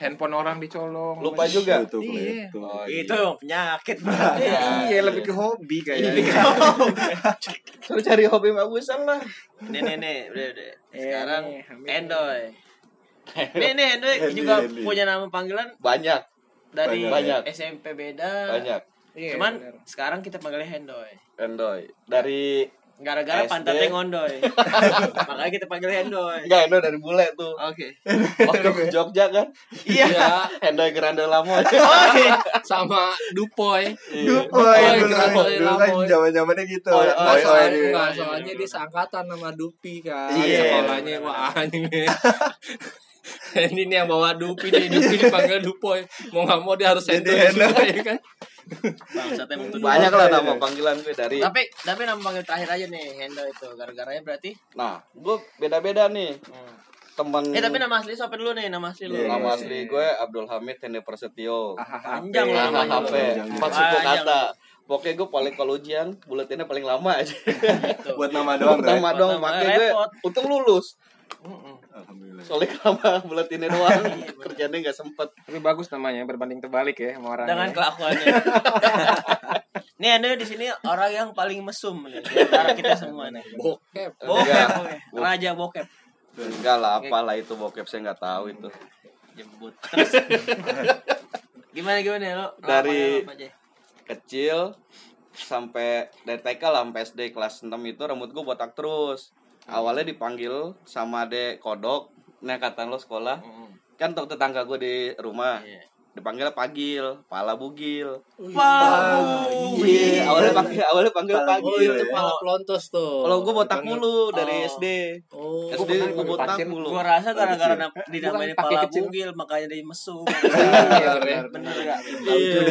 Speaker 3: Handphone orang dicolong.
Speaker 1: Lupa juga.
Speaker 4: Tuh,
Speaker 3: Iya.
Speaker 4: tuh.
Speaker 1: Oh, iya.
Speaker 2: itu penyakit berarti ya.
Speaker 3: Iya, lebih ke hobi kayaknya.
Speaker 1: Suruh cari hobi bagusan lah.
Speaker 2: Nih nih nih, udah udah.
Speaker 3: Iya,
Speaker 2: Sekarang
Speaker 3: nih, Hamid.
Speaker 2: Endoy. Nih nih Endoy
Speaker 4: Handy,
Speaker 2: juga
Speaker 4: handy.
Speaker 2: punya nama panggilan
Speaker 1: Banyak,
Speaker 2: dari
Speaker 1: Banyak.
Speaker 2: SMP beda.
Speaker 1: banyak.
Speaker 3: Iya,
Speaker 2: Cuman
Speaker 3: bener.
Speaker 2: sekarang kita panggilnya Hendoy.
Speaker 1: Endoy. Dari SD.
Speaker 2: Gara-gara pantatnya ngondoy. Makanya kita panggil Hendoy.
Speaker 1: enggak Endoy dari bule tuh.
Speaker 2: Oke.
Speaker 1: Waktu ke Jogja kan.
Speaker 5: Iya.
Speaker 1: Endoy Grande Lamo.
Speaker 5: Sama Dupoy.
Speaker 4: Dupoy
Speaker 5: Dupoy,
Speaker 4: dulu kan,
Speaker 5: Dupoy,
Speaker 4: dulu kan
Speaker 5: Lamoy.
Speaker 4: zaman zamannya gitu.
Speaker 1: Oi,
Speaker 5: Nggak,
Speaker 4: Oi, oi,
Speaker 5: soalnya,
Speaker 4: oi.
Speaker 5: nggak, soalnya dia seangkatan sama Dupi kan
Speaker 4: Iya.
Speaker 5: sekolahnya wah anjing nih ini nih yang bawa Dupi nih Dupi dipanggil Dupoy mau nggak mau dia harus
Speaker 4: Jadi
Speaker 5: sendiri
Speaker 4: enak.
Speaker 5: juga ya kan
Speaker 2: Bangsat emang tuh.
Speaker 1: Banyak lah nama panggilan gue dari.
Speaker 2: Tapi tapi nama panggil terakhir aja nih Hendo itu. Gara-garanya berarti
Speaker 1: Nah, gue beda-beda nih. Temen
Speaker 2: Eh tapi nama asli siapa dulu nih nama asli lu?
Speaker 4: Iya,
Speaker 1: nama asli gue Abdul Hamid Tende Prasetyo.
Speaker 2: Panjang
Speaker 1: Nah,
Speaker 2: lah namanya.
Speaker 1: HP,
Speaker 4: Panjang.
Speaker 1: empat suku
Speaker 2: Panjang.
Speaker 1: kata. Pokoknya gue paling kalau ujian, buletinnya paling lama aja.
Speaker 2: Gitu.
Speaker 4: Buat nama doang tuh.
Speaker 1: Pertama
Speaker 4: ya?
Speaker 1: dong,
Speaker 2: Pertama,
Speaker 1: makanya gue
Speaker 2: repot.
Speaker 1: untung lulus.
Speaker 2: Mm-mm.
Speaker 4: Alhamdulillah.
Speaker 1: Soalnya lama buletinnya doang,
Speaker 2: Iya,
Speaker 1: kerjanya nggak sempet.
Speaker 3: Tapi bagus namanya berbanding terbalik ya sama orang.
Speaker 2: Dengan kelakuannya. nih Hendoy di sini orang yang paling mesum nih. di antara kita semua nih.
Speaker 5: bokep
Speaker 2: Bokep, bokep. Raja bokep.
Speaker 1: Enggak lah, apalah itu bokep saya nggak tahu itu.
Speaker 2: jemput terus gimana gimana lo Lo
Speaker 1: Dari-
Speaker 2: apa, lo apa aja?
Speaker 1: Kecil sampai dari TK lah sampai SD kelas 6 itu rambut gue botak terus. Awalnya dipanggil sama adek kodok, nah kata lo sekolah. Kan tok tetangga gue di rumah.
Speaker 2: Iya.
Speaker 1: dipanggil panggil, pala bugil.
Speaker 4: Bugil.
Speaker 1: Iya, awalnya panggil, awalnya panggil
Speaker 4: Pala
Speaker 1: panggil.
Speaker 5: Oh itu
Speaker 4: Iya.
Speaker 5: pala pelontos tuh.
Speaker 1: Kalau gue botak
Speaker 4: Dipanggil.
Speaker 1: mulu dari
Speaker 2: Oh.
Speaker 1: SD.
Speaker 5: Oh.
Speaker 1: SD
Speaker 3: pernah
Speaker 1: gue
Speaker 3: dipanggil
Speaker 1: botak
Speaker 3: pancil.
Speaker 1: mulu.
Speaker 2: Gua rasa gara-gara
Speaker 4: kecil.
Speaker 2: na- dinamain
Speaker 3: Bukan, kaki
Speaker 2: pala
Speaker 3: kecil.
Speaker 2: bugil makanya dia mesum.
Speaker 3: Iya, benar.
Speaker 2: Bener gak?
Speaker 5: Iya.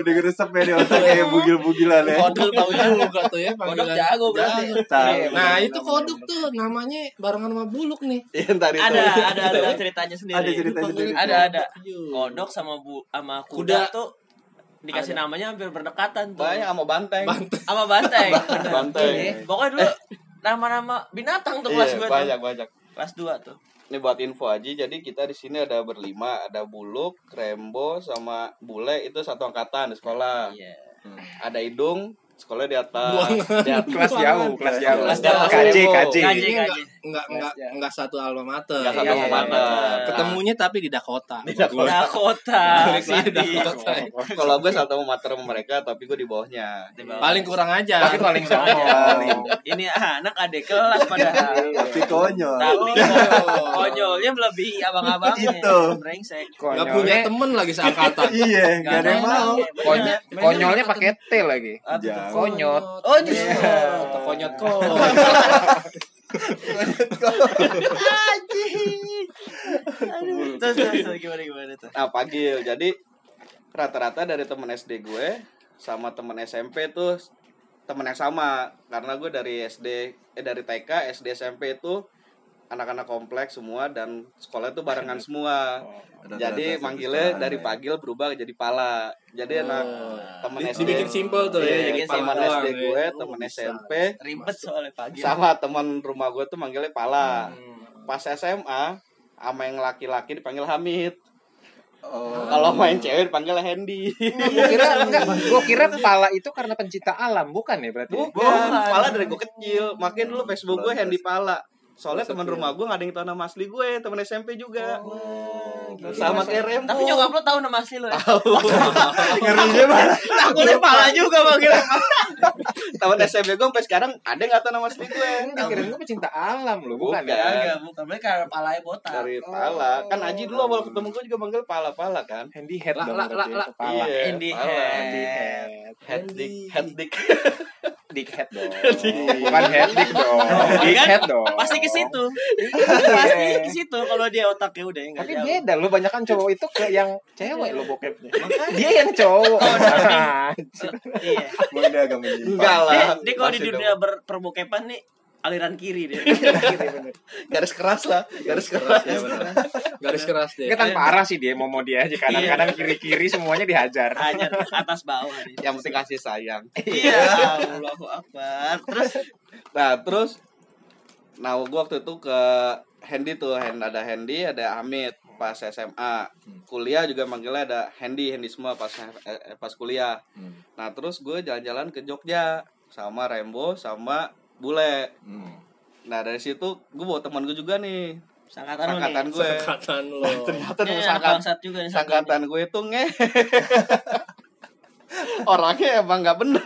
Speaker 4: Udah ngeresep ya di otak kayak bugil-bugilan ya.
Speaker 5: Kodok tahu juga tuh ya
Speaker 2: Kodok
Speaker 5: panggilan.
Speaker 2: jago berarti.
Speaker 4: Tahu.
Speaker 5: Nah itu kodok tuh namanya barengan sama buluk nih.
Speaker 1: Iya, ntar itu.
Speaker 2: Ada, ada, ada ceritanya sendiri.
Speaker 4: Ada cerita sendiri.
Speaker 5: Dipanggilnya
Speaker 2: Ada,
Speaker 5: kodok.
Speaker 2: ada.
Speaker 5: Iya.
Speaker 2: Kodok sama bu sama kuda,
Speaker 5: Kuda.
Speaker 2: tuh dikasih namanya hampir berdekatan tuh.
Speaker 1: Banyak sama banteng.
Speaker 5: Banteng.
Speaker 2: Sama banteng. Bener.
Speaker 1: Banteng.
Speaker 2: Pokoknya dulu nama-nama binatang tuh
Speaker 1: Iya,
Speaker 2: kelas gua tuh.
Speaker 1: banyak banyak.
Speaker 2: Kelas 2 tuh.
Speaker 1: Ini buat info aja. Jadi kita di sini ada berlima, ada Buluk, Rembo sama Bule itu satu angkatan di sekolah.
Speaker 2: Iya.
Speaker 1: Ada Idung, sekolah di atas.
Speaker 5: Buang.
Speaker 1: Di atas.
Speaker 3: Kelas jauh, kelas jauh.
Speaker 1: Kelas
Speaker 2: jauh.
Speaker 3: KJ, KJ.
Speaker 2: Kaji,
Speaker 5: Ini
Speaker 2: kaji.
Speaker 5: Enggak enggak enggak satu alma mater.
Speaker 1: Nggak satu
Speaker 5: Iya.
Speaker 1: alma mater.
Speaker 5: Ketemunya tapi di Dakota.
Speaker 1: Di Dakota.
Speaker 2: Iya, Dakota.
Speaker 5: Balik lagi
Speaker 2: City.
Speaker 5: Dakota.
Speaker 1: Kalau gue satu mater sama mereka, tapi gue di bawahnya.
Speaker 2: Di bawah.
Speaker 5: Paling kurang aja.
Speaker 3: Tapi paling sombong.
Speaker 2: Ini anak adik kelas padahal.
Speaker 4: Tapi konyol.
Speaker 2: Tapi
Speaker 5: Oh.
Speaker 2: konyolnya melebihi abang-abangnya.
Speaker 4: Itu.
Speaker 2: Brengsek.
Speaker 5: Enggak
Speaker 3: Konyolnya-
Speaker 5: punya temen lagi seangkatan.
Speaker 4: Iya, nggak ada yang mau.
Speaker 3: Konyol, konyolnya pakai T lagi.
Speaker 1: Apa
Speaker 4: Ah.
Speaker 1: tuh?
Speaker 4: Jauh.
Speaker 3: Konyot.
Speaker 2: Oh,
Speaker 5: Iya.
Speaker 2: justru.
Speaker 5: Konyot kok.
Speaker 2: Anjing. Aduh. Terus, terus, terus, gimana, gimana tuh?
Speaker 1: Nah, panggil. Jadi rata-rata dari temen SD gue sama temen SMP tuh temen yang sama karena gue dari SD eh dari TK SD SMP itu anak-anak kompleks semua dan sekolah itu barengan semua jadi manggilnya dari panggil berubah jadi pala jadi anak temen SD
Speaker 5: Dibikin simpel tuh
Speaker 1: Iya,
Speaker 5: ya.
Speaker 1: jadi
Speaker 5: jadi
Speaker 2: Dibikin
Speaker 1: temen
Speaker 2: simpel
Speaker 1: SD
Speaker 5: doang ya.
Speaker 1: gue
Speaker 5: Oh,
Speaker 1: temen
Speaker 5: bisa. ya.
Speaker 1: SMP
Speaker 2: Ribet soalnya pagi.
Speaker 1: sama temen rumah gue tuh manggilnya pala
Speaker 2: Hmm.
Speaker 1: pas SMA sama yang laki-laki dipanggil Hamid
Speaker 4: Oh.
Speaker 1: kalau main cewek dipanggil Handy
Speaker 2: Iya,
Speaker 3: Gue kira enggak, gua kira pala itu karena pencinta alam, bukan ya berarti?
Speaker 1: Bukan,
Speaker 2: Bukan.
Speaker 1: pala dari gue kecil. Makin dulu Facebook gue
Speaker 4: Lantas.
Speaker 1: Handy Pala. Soalnya
Speaker 4: Lantas
Speaker 1: teman
Speaker 4: iya.
Speaker 1: rumah gue gak ada yang tau nama asli gue, teman SMP juga.
Speaker 4: gitu.
Speaker 1: Sama kayak Rembo.
Speaker 2: Oh, Tapi nyokap lo tahu nama asli lo ya?
Speaker 4: Ngerinya malah.
Speaker 2: Aku lihat pala juga manggil.
Speaker 1: Teman SMP gue sampai sekarang ada yang gak tau nama asli gue.
Speaker 3: Enggak, kira gue pencinta alam loh, bukan,
Speaker 1: Bukan.
Speaker 3: ya?
Speaker 2: Kagak, bukan. Mereka karena palanya botak.
Speaker 1: Dari Pala. Kan Aji dulu awal ketemu gue juga manggil Pala-Pala kan.
Speaker 3: Handy head
Speaker 5: La,
Speaker 3: dong
Speaker 5: la,
Speaker 3: berarti ya,
Speaker 5: la, la.
Speaker 3: kepala.
Speaker 1: Iya,
Speaker 2: Handy
Speaker 1: Pala.
Speaker 2: head.
Speaker 1: Handy head. Head dick, head dick.
Speaker 3: Dick head dong. bukan head dick dong.
Speaker 2: Kan
Speaker 3: Dick head dong.
Speaker 2: Pasti ke situ. Pasti ke situ kalau dia otaknya udah enggak
Speaker 3: Tapi
Speaker 2: jauh.
Speaker 3: beda lu banyak kan cowok itu ke yang cewek lo bokepnya. Dia yang cowok.
Speaker 2: Oh, Iya.
Speaker 4: Mau ini agak menyimpang.
Speaker 1: Enggak
Speaker 2: Dia,
Speaker 1: lah.
Speaker 2: dia kalau di
Speaker 1: Pasti
Speaker 2: dunia berperbokepan nih aliran kiri dia.
Speaker 1: dong. garis keras lah, garis keras.
Speaker 4: Ya, benar.
Speaker 5: Garis keras deh.
Speaker 3: Enggak tanpa arah sih dia mau mau dia aja
Speaker 2: Iya.
Speaker 3: kanan-kanan kiri-kiri semuanya dihajar.
Speaker 2: Hanya atas bawah dia.
Speaker 1: Yang penting kasih sayang.
Speaker 2: Iya, Allahu Akbar. Terus
Speaker 1: Nah terus Nah gua waktu itu ke Handy tuh Hand, Ada Handy ada Hamid Pas SMA Kuliah juga manggilnya ada Handy Handy semua pas eh, pas kuliah
Speaker 4: Hmm.
Speaker 1: Nah terus gue jalan-jalan ke Jogja Sama Rembo sama Bule
Speaker 4: Hmm.
Speaker 1: Nah dari situ gue bawa teman gue juga nih
Speaker 2: sangkatan lu
Speaker 1: Angkatan
Speaker 2: Anu nih.
Speaker 1: gue
Speaker 5: Angkatan lo.
Speaker 1: Ternyata
Speaker 2: Ini
Speaker 1: temen
Speaker 2: anak
Speaker 1: seangkat-
Speaker 2: bangsat juga nih satu
Speaker 1: Angkatan gue itu nge Orangnya emang gak bener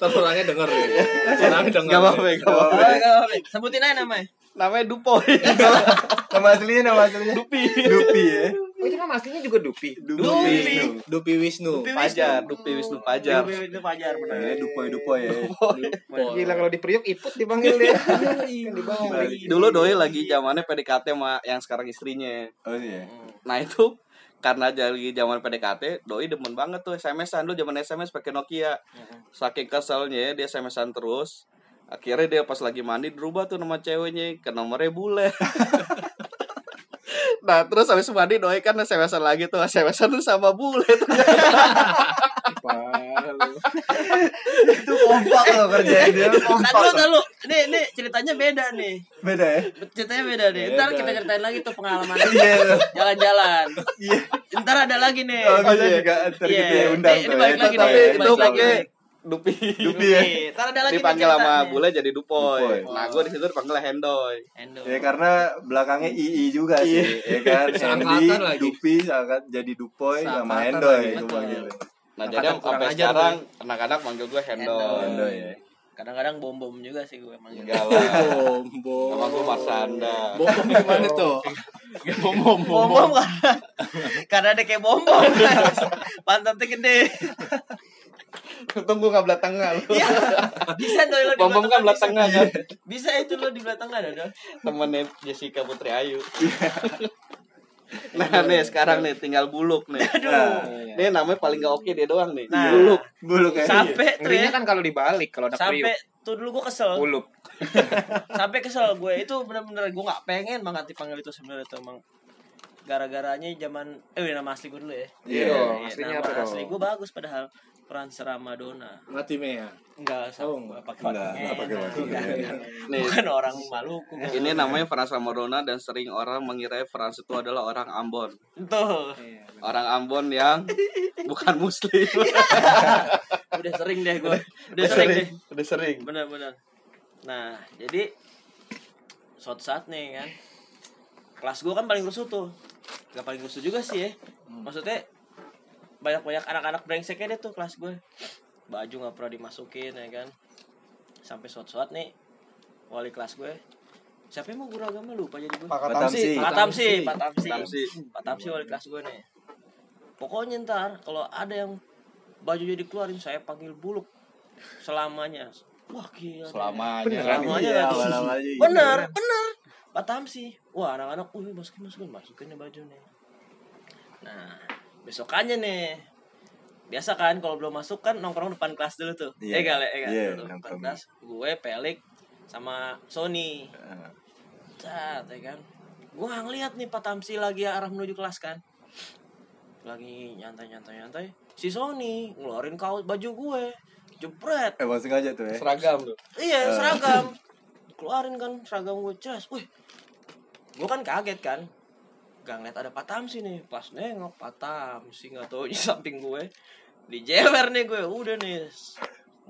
Speaker 5: Terus orangnya denger nih. Orangnya denger.
Speaker 1: Gak apa-apa
Speaker 5: nih.
Speaker 1: gak apa-apa.
Speaker 2: ini. Oh, enggak apa-apa. Sebutin aja ya. namanya.
Speaker 1: Namanya Dupoy
Speaker 4: Nama aslinya, nama aslinya. Dupi. Dupi ya.
Speaker 3: Oh, itu nama aslinya juga Dupi.
Speaker 2: Dupi.
Speaker 5: Dupi Wisnu.
Speaker 2: Dupi
Speaker 1: Pajar Dupi Wisnu Pajar
Speaker 2: Dupi Wisnu Pajar benar.
Speaker 4: Namanya Dupoy, Dupoy ya.
Speaker 3: Gila kalau di Priok ikut dipanggil dia.
Speaker 4: Balik.
Speaker 1: dulu doi lagi zamannya PDKT sama yang sekarang istrinya
Speaker 4: Oh iya.
Speaker 1: nah itu karena dari zaman PDKT doi demen banget tuh SMS-an dulu zaman SMS pakai Nokia saking keselnya dia SMS-an terus akhirnya dia pas lagi mandi berubah tuh nama ceweknya ke nomornya bule nah terus habis mandi doi kan SMS-an lagi tuh SMS-an tuh sama bule
Speaker 4: Itu kompak loh kerjaan dia.
Speaker 2: Tadi
Speaker 4: Kompak.
Speaker 2: lu tadi lu. Ini ini ceritanya beda nih.
Speaker 4: ya. Beda ya.
Speaker 2: Ceritanya beda nih. Ntar
Speaker 5: Beda.
Speaker 2: kita ceritain lagi tuh pengalaman
Speaker 4: Iya. tuh.
Speaker 2: jalan-jalan.
Speaker 4: Iya. Oh,
Speaker 2: Ntar ada lagi nih.
Speaker 4: Kalau bisa juga ntar
Speaker 2: Eh, Iya.
Speaker 4: kita ya undang
Speaker 2: Ini-
Speaker 4: tuh.
Speaker 2: ini balik
Speaker 4: ya.
Speaker 2: lagi
Speaker 4: Tetap
Speaker 2: nih,
Speaker 4: ya,
Speaker 2: balik
Speaker 1: itu
Speaker 4: tetap
Speaker 2: lagi.
Speaker 1: pakai
Speaker 4: ya.
Speaker 1: Dupi
Speaker 4: Dupi ya.
Speaker 2: Oke, Ntar ada lagi nih
Speaker 1: dipanggil sama
Speaker 2: ceritanya.
Speaker 1: bule jadi
Speaker 4: Dupoy.
Speaker 1: Dupoy nah gue disitu dipanggil Hendoy
Speaker 2: Endo.
Speaker 4: Ya karena belakangnya II juga sih, ya kan.
Speaker 5: Seangkatan
Speaker 4: Sandy,
Speaker 5: lagi.
Speaker 4: Dupi, seangkat jadi Dupoy sama
Speaker 5: Seangkatan
Speaker 4: Hendoy
Speaker 5: lagi,
Speaker 4: itu gitu.
Speaker 5: betul.
Speaker 4: manggilnya.
Speaker 1: Nah
Speaker 5: Angkatan
Speaker 1: jadi
Speaker 5: kurang
Speaker 1: sampai
Speaker 5: ajar
Speaker 1: sekarang anak-anak manggil gue Hendo.
Speaker 2: Hendoy.
Speaker 4: Hendoy ya.
Speaker 2: kadang-kadang bom bom juga sih gue emang
Speaker 1: Enggak lah.
Speaker 5: Bom,
Speaker 1: Nama gue Marsanda.
Speaker 5: Bom, bom gimana tuh? Bom, bom,
Speaker 2: bom
Speaker 5: bom,
Speaker 2: bom karena kan? karena ada kayak bom bom pantatnya gede
Speaker 1: Untung gue gak belah tengah lu.
Speaker 2: Iya. bisa doi lo di
Speaker 1: Bom bom kan belah
Speaker 2: belah tengah ya.
Speaker 1: tengah kan.
Speaker 2: bisa itu lo di belah tengah ada
Speaker 1: Temennya Jessica Putri Ayu. Nah nih sekarang nih tinggal buluk nih. Nah,
Speaker 2: aduh
Speaker 1: Nih namanya paling gak oke dia doang nih.
Speaker 2: Nah.
Speaker 1: Buluk.
Speaker 4: Bulu kayak
Speaker 2: sampai tuh ya
Speaker 3: Ngerinya kan kalau dibalik kalau ada kriuk.
Speaker 2: sampai tuh dulu gue kesel
Speaker 3: Ulup.
Speaker 2: sampai kesel gue itu bener-bener gue nggak pengen banget dipanggil itu sebenarnya tuh emang gara-garanya zaman eh wih, nama asli gue dulu ya
Speaker 4: Iya
Speaker 2: Iya,
Speaker 3: dong, aslinya
Speaker 2: nama
Speaker 3: apa dong?
Speaker 2: asli gue bagus padahal Frans Ramadona
Speaker 5: Mati Mea.
Speaker 2: enggak sama
Speaker 5: Oh,
Speaker 2: gue
Speaker 5: enggak.
Speaker 2: pakai
Speaker 4: Enggak, enggak pakai
Speaker 2: pakai
Speaker 4: wakilnya.
Speaker 1: Nih
Speaker 2: bukan orang Maluku
Speaker 1: ini namanya Frans Ramadona dan sering orang mengira Frans itu adalah orang Ambon.
Speaker 2: tuh
Speaker 1: Orang Ambon yang bukan muslim.
Speaker 2: udah sering deh gue udah sering deh
Speaker 1: Udah sering.
Speaker 2: bener-bener nah jadi suatu saat nih kan kelas gue kan paling rusuh tuh gak paling rusuh juga sih ya maksudnya banyak-banyak anak-anak brengseknya deh tuh kelas gue baju nggak pernah dimasukin ya kan sampai suatu saat nih wali kelas gue siapa yang mau guru agama lupa jadi gue
Speaker 1: Pak
Speaker 4: Katamsi.
Speaker 2: Pak Tamsi, Pak Tamsi,
Speaker 1: Pak Tamsi.
Speaker 2: Pak Tamsi wali kelas gue nih. Pokoknya ntar kalau ada yang bajunya dikeluarin saya panggil buluk selamanya. Wah gila. deh.
Speaker 1: Selamanya.
Speaker 2: Beneran. Selamanya
Speaker 4: Iya, ya.
Speaker 2: nggak tuh?
Speaker 4: selamanya.
Speaker 2: Bener, bener. Pak Tamsi. Wah anak-anak, uh masukin masukin masukin nih baju nih. Nah besokannya nih biasa kan kalau belum masuk kan nongkrong depan kelas dulu tuh.
Speaker 4: Iya.
Speaker 2: Eh gak, eh gak.
Speaker 4: Iya,
Speaker 2: depan
Speaker 4: nongkrong.
Speaker 2: kelas gue Pelik sama Sony. Cat, ya kan. Gue nggak ngeliat nih Pak Tamsi lagi arah menuju kelas kan. Lagi nyantai-nyantai-nyantai. Si Sony ngeluarin kaos baju gue. Jepret.
Speaker 4: Emang sengaja tuh ya.
Speaker 1: Seragam tuh.
Speaker 2: Iya, seragam. Keluarin kan seragam gue. Ces, wih. Gue kan kaget kan. Gak ngeliat ada Pak Tamsi nih. Pas nengok Pak Tamsi nggak tahu di samping gue. Dijewer nih gue. Udah nih.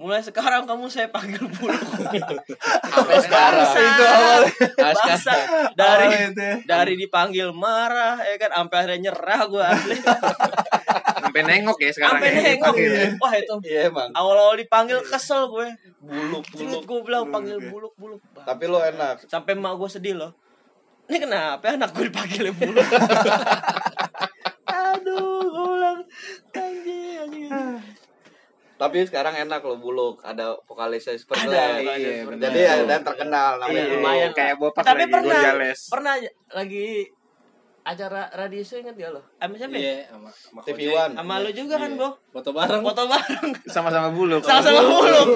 Speaker 2: Mulai sekarang kamu saya panggil buluk. Sampai
Speaker 1: sekarang.
Speaker 4: Itu awalnya.
Speaker 2: Bahasa dari
Speaker 4: Awalnya itu ya.
Speaker 2: dari dipanggil marah ya kan sampai akhirnya nyerah gue asli
Speaker 3: Sampai nengok ya sekarang.
Speaker 2: sampai
Speaker 3: ya.
Speaker 2: nengok
Speaker 3: Dipanggil ya.
Speaker 2: wah itu
Speaker 1: Iya emang.
Speaker 2: awal-awal dipanggil kesel gue
Speaker 1: Buluk
Speaker 2: Bulut
Speaker 1: buluk.
Speaker 2: gue bilang panggil
Speaker 4: ya.
Speaker 2: buluk buluk Bang.
Speaker 1: Tapi lo enak.
Speaker 2: sampai emak gue sedih loh ini kenapa anak gue dipanggil buluk aduh gue bilang anjing anjing anjing."
Speaker 1: Tapi sekarang enak lo buluk. Ada vokalisnya seperti
Speaker 2: ada
Speaker 1: itu.
Speaker 2: ada
Speaker 3: iya,
Speaker 2: seperti
Speaker 1: Jadi
Speaker 2: itu.
Speaker 1: ada yang terkenal namanya.
Speaker 2: Iya,
Speaker 1: Buluk.
Speaker 2: lumayan lah.
Speaker 3: kayak botak
Speaker 2: tapi
Speaker 3: lagi,
Speaker 2: pernah
Speaker 3: Gonzales.
Speaker 2: pernah lagi acara radius inget gak lo sama siapa ya?
Speaker 5: Iya, sama sama
Speaker 1: TV
Speaker 5: Kojek.
Speaker 1: One.
Speaker 2: sama lo juga kan
Speaker 5: Iya.
Speaker 2: Bo
Speaker 5: Foto bareng.
Speaker 2: foto bareng
Speaker 3: Sama-sama buluk.
Speaker 2: sama-sama buluk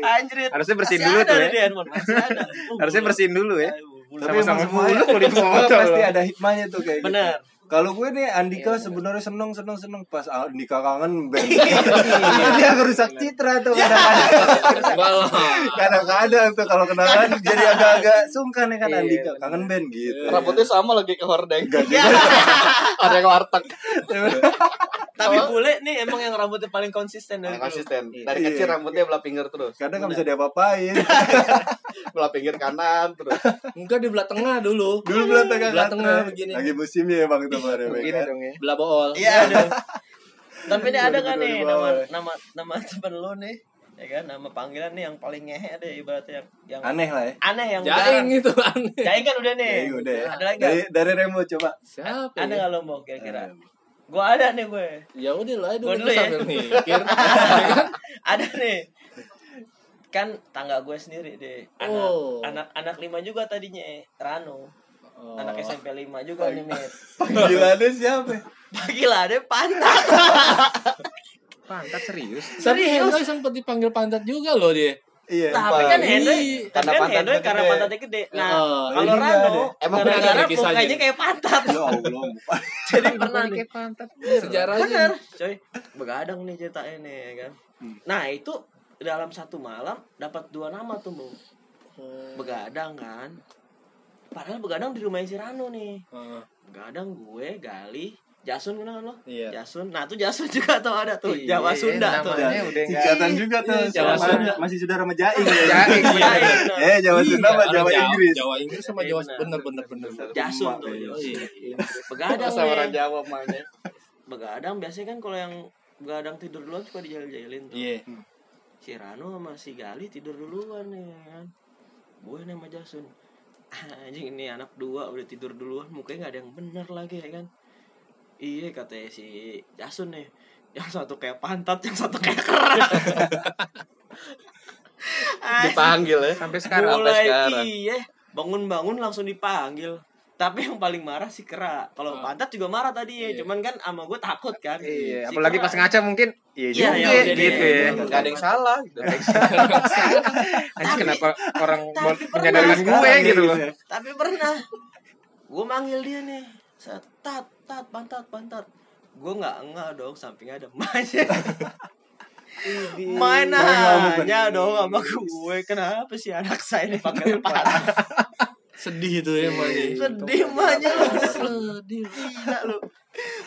Speaker 2: anjrit
Speaker 3: Oh. Harusnya bersihin
Speaker 2: Masih
Speaker 3: dulu
Speaker 2: ada
Speaker 3: tuh
Speaker 2: nih
Speaker 3: ya.
Speaker 2: di handphone, masih ada. Oh,
Speaker 3: Harusnya
Speaker 2: buluk.
Speaker 3: bersihin dulu ya.
Speaker 2: Ayo, buluk.
Speaker 4: Tapi emang
Speaker 3: Sama-sama
Speaker 4: semuanya
Speaker 3: buluk, buluk semua tuh.
Speaker 4: pasti ada hikmahnya tuh kayak gitu.
Speaker 2: Bener.
Speaker 4: Kalau gue nih Andika sebenarnya seneng seneng seneng pas Andika kangen band. Dia ngerusak citra tuh kadang-kadang.
Speaker 5: Enggak lah.
Speaker 4: Kadang-kadang tuh kalau kenalan jadi agak-agak sungkan ya kan
Speaker 3: Iya,
Speaker 4: Andika kangen band gitu.
Speaker 1: Rambutnya sama lagi ke hordeng.
Speaker 5: Ada yang warteg.
Speaker 2: tapi bule nih emang yang rambutnya paling konsisten dari
Speaker 1: Nah,
Speaker 2: dulu
Speaker 1: konsisten. Dari kecil rambutnya belah pinggir terus.
Speaker 4: Kadang nggak bisa diapa-apain.
Speaker 1: Belah pinggir kanan terus.
Speaker 5: Enggak di belah tengah dulu.
Speaker 4: Dulu belah tengah
Speaker 5: Belah
Speaker 4: kata.
Speaker 5: tengah begini.
Speaker 4: Nah, Lagi musimnya ya bang itu baru.
Speaker 3: Begini dong ya.
Speaker 5: Belah bool.
Speaker 2: Iya aduh. Tapi ini ada kan nih
Speaker 4: 2022
Speaker 2: nama
Speaker 4: bawah.
Speaker 2: nama nama temen lu nih, ya kan nama panggilan nih yang paling ngehe ada ibaratnya yang yang
Speaker 4: Aneh lah ya.
Speaker 2: aneh yang jarang.
Speaker 5: Jaring itu aneh.
Speaker 2: Jaing kan udah nih.
Speaker 4: Ya udah ya.
Speaker 2: Ada lagi
Speaker 4: Dari
Speaker 2: nggak?
Speaker 4: dari Remo coba.
Speaker 5: Siapa?
Speaker 2: Ada
Speaker 5: ya?
Speaker 2: nggak lo mau kira-kira? Gue ada nih gue.
Speaker 5: Ya udah lah, dulu
Speaker 2: Gua dulu
Speaker 5: kita
Speaker 2: ya.
Speaker 5: sambil mikir.
Speaker 2: ada nih. Kan tangga gue sendiri deh. Anak
Speaker 5: Oh.
Speaker 2: anak anak lima juga tadinya eh. Rano.
Speaker 5: Oh.
Speaker 2: Anak SMP lima juga nih Mit.
Speaker 4: Panggilannya siapa?
Speaker 2: Panggilannya pantat.
Speaker 3: Pantat serius.
Speaker 5: Tapi Hendoy sempat dipanggil pantat juga loh dia.
Speaker 4: Iya.
Speaker 2: Tapi kan
Speaker 5: Iya.
Speaker 2: Hendoy, tapi
Speaker 1: Karena
Speaker 2: kan
Speaker 1: pantatnya
Speaker 2: Hendoy karena
Speaker 1: gede.
Speaker 2: pantatnya gede. Nah,
Speaker 5: Oh,
Speaker 2: kalau
Speaker 4: ini
Speaker 2: Rano,
Speaker 4: ada.
Speaker 5: Emang
Speaker 2: gara-gara
Speaker 5: benar ada kisahnya.
Speaker 2: mukanya kayak pantat.
Speaker 4: Ya Allah.
Speaker 2: Jadi pernah nih.
Speaker 3: Kayak pantat.
Speaker 5: Sejarahnya.
Speaker 2: Bener, coy. Begadang nih ceritanya nih, ya kan. Nah, itu dalam satu malam dapat dua nama tuh, Bung. Begadang kan. Padahal begadang di rumahnya si Rano nih.
Speaker 5: Heeh.
Speaker 2: Begadang gue, Gali, Jasun kenal kan lo?
Speaker 5: Iya.
Speaker 2: Jasun. Nah, tuh Jasun juga tuh ada tuh. Jawa Sunda tuh. Iya,
Speaker 3: namanya udah enggak.
Speaker 4: Singkatan juga tuh.
Speaker 5: Iya, Jawa
Speaker 4: Sama-
Speaker 5: Sunda.
Speaker 4: Masih saudara sama Jaing. ya.
Speaker 3: Jaring.
Speaker 2: Iya, iya, bener.
Speaker 4: Eh Jawa Sunda sama
Speaker 5: Iya,
Speaker 4: Jawa
Speaker 5: Jawa-
Speaker 4: Inggris.
Speaker 5: Jawa Inggris sama
Speaker 2: Iya,
Speaker 5: Jawa
Speaker 2: benar.
Speaker 5: bener bener bener.
Speaker 2: Jasun
Speaker 4: Emak
Speaker 2: tuh.
Speaker 4: kayaknya.
Speaker 2: Jasun.
Speaker 5: Iya.
Speaker 2: Begadang
Speaker 1: Sama orang
Speaker 2: nih.
Speaker 1: Jawa emaknya.
Speaker 2: Begadang biasanya kan kalau yang begadang tidur duluan suka dijail-jailin tuh.
Speaker 5: Iya.
Speaker 2: si Rano sama si Gali tidur duluan ya kan gue nih sama Jason anjing ini anak dua udah tidur duluan mukanya nggak ada yang bener lagi ya kan iya katanya si Jason nih yang satu kayak pantat yang satu kayak kerak Anjing,
Speaker 6: dipanggil ya
Speaker 3: Sampai sekarang
Speaker 6: sampai
Speaker 2: mulai
Speaker 6: sekarang
Speaker 2: iya bangun-bangun langsung dipanggil tapi yang paling marah si kera kalau pantat juga marah tadi ya cuman kan sama gue takut kan
Speaker 3: Ah. Iya,
Speaker 2: Si
Speaker 3: apalagi
Speaker 2: Kera-
Speaker 3: pas ngaca mungkin iya
Speaker 2: Iya,
Speaker 3: juga
Speaker 2: iya, iya,
Speaker 3: gitu
Speaker 2: iya,
Speaker 3: ya.
Speaker 6: nggak ada yang salah gitu
Speaker 3: Anjing, kenapa orang
Speaker 2: tapi
Speaker 3: mau
Speaker 2: pernah
Speaker 3: menyadarkan gue
Speaker 4: sekarang
Speaker 3: gitu loh.
Speaker 4: gitu ya.
Speaker 2: tapi pernah gue manggil dia nih Set, tat tat pantat pantat gue nggak enggak dong sampingnya ada mainnya main hanya dong sama gue kenapa sih anak saya dipanggil pantat
Speaker 5: Sedih itu ya Mani.
Speaker 2: sedih mahnya lu gila lu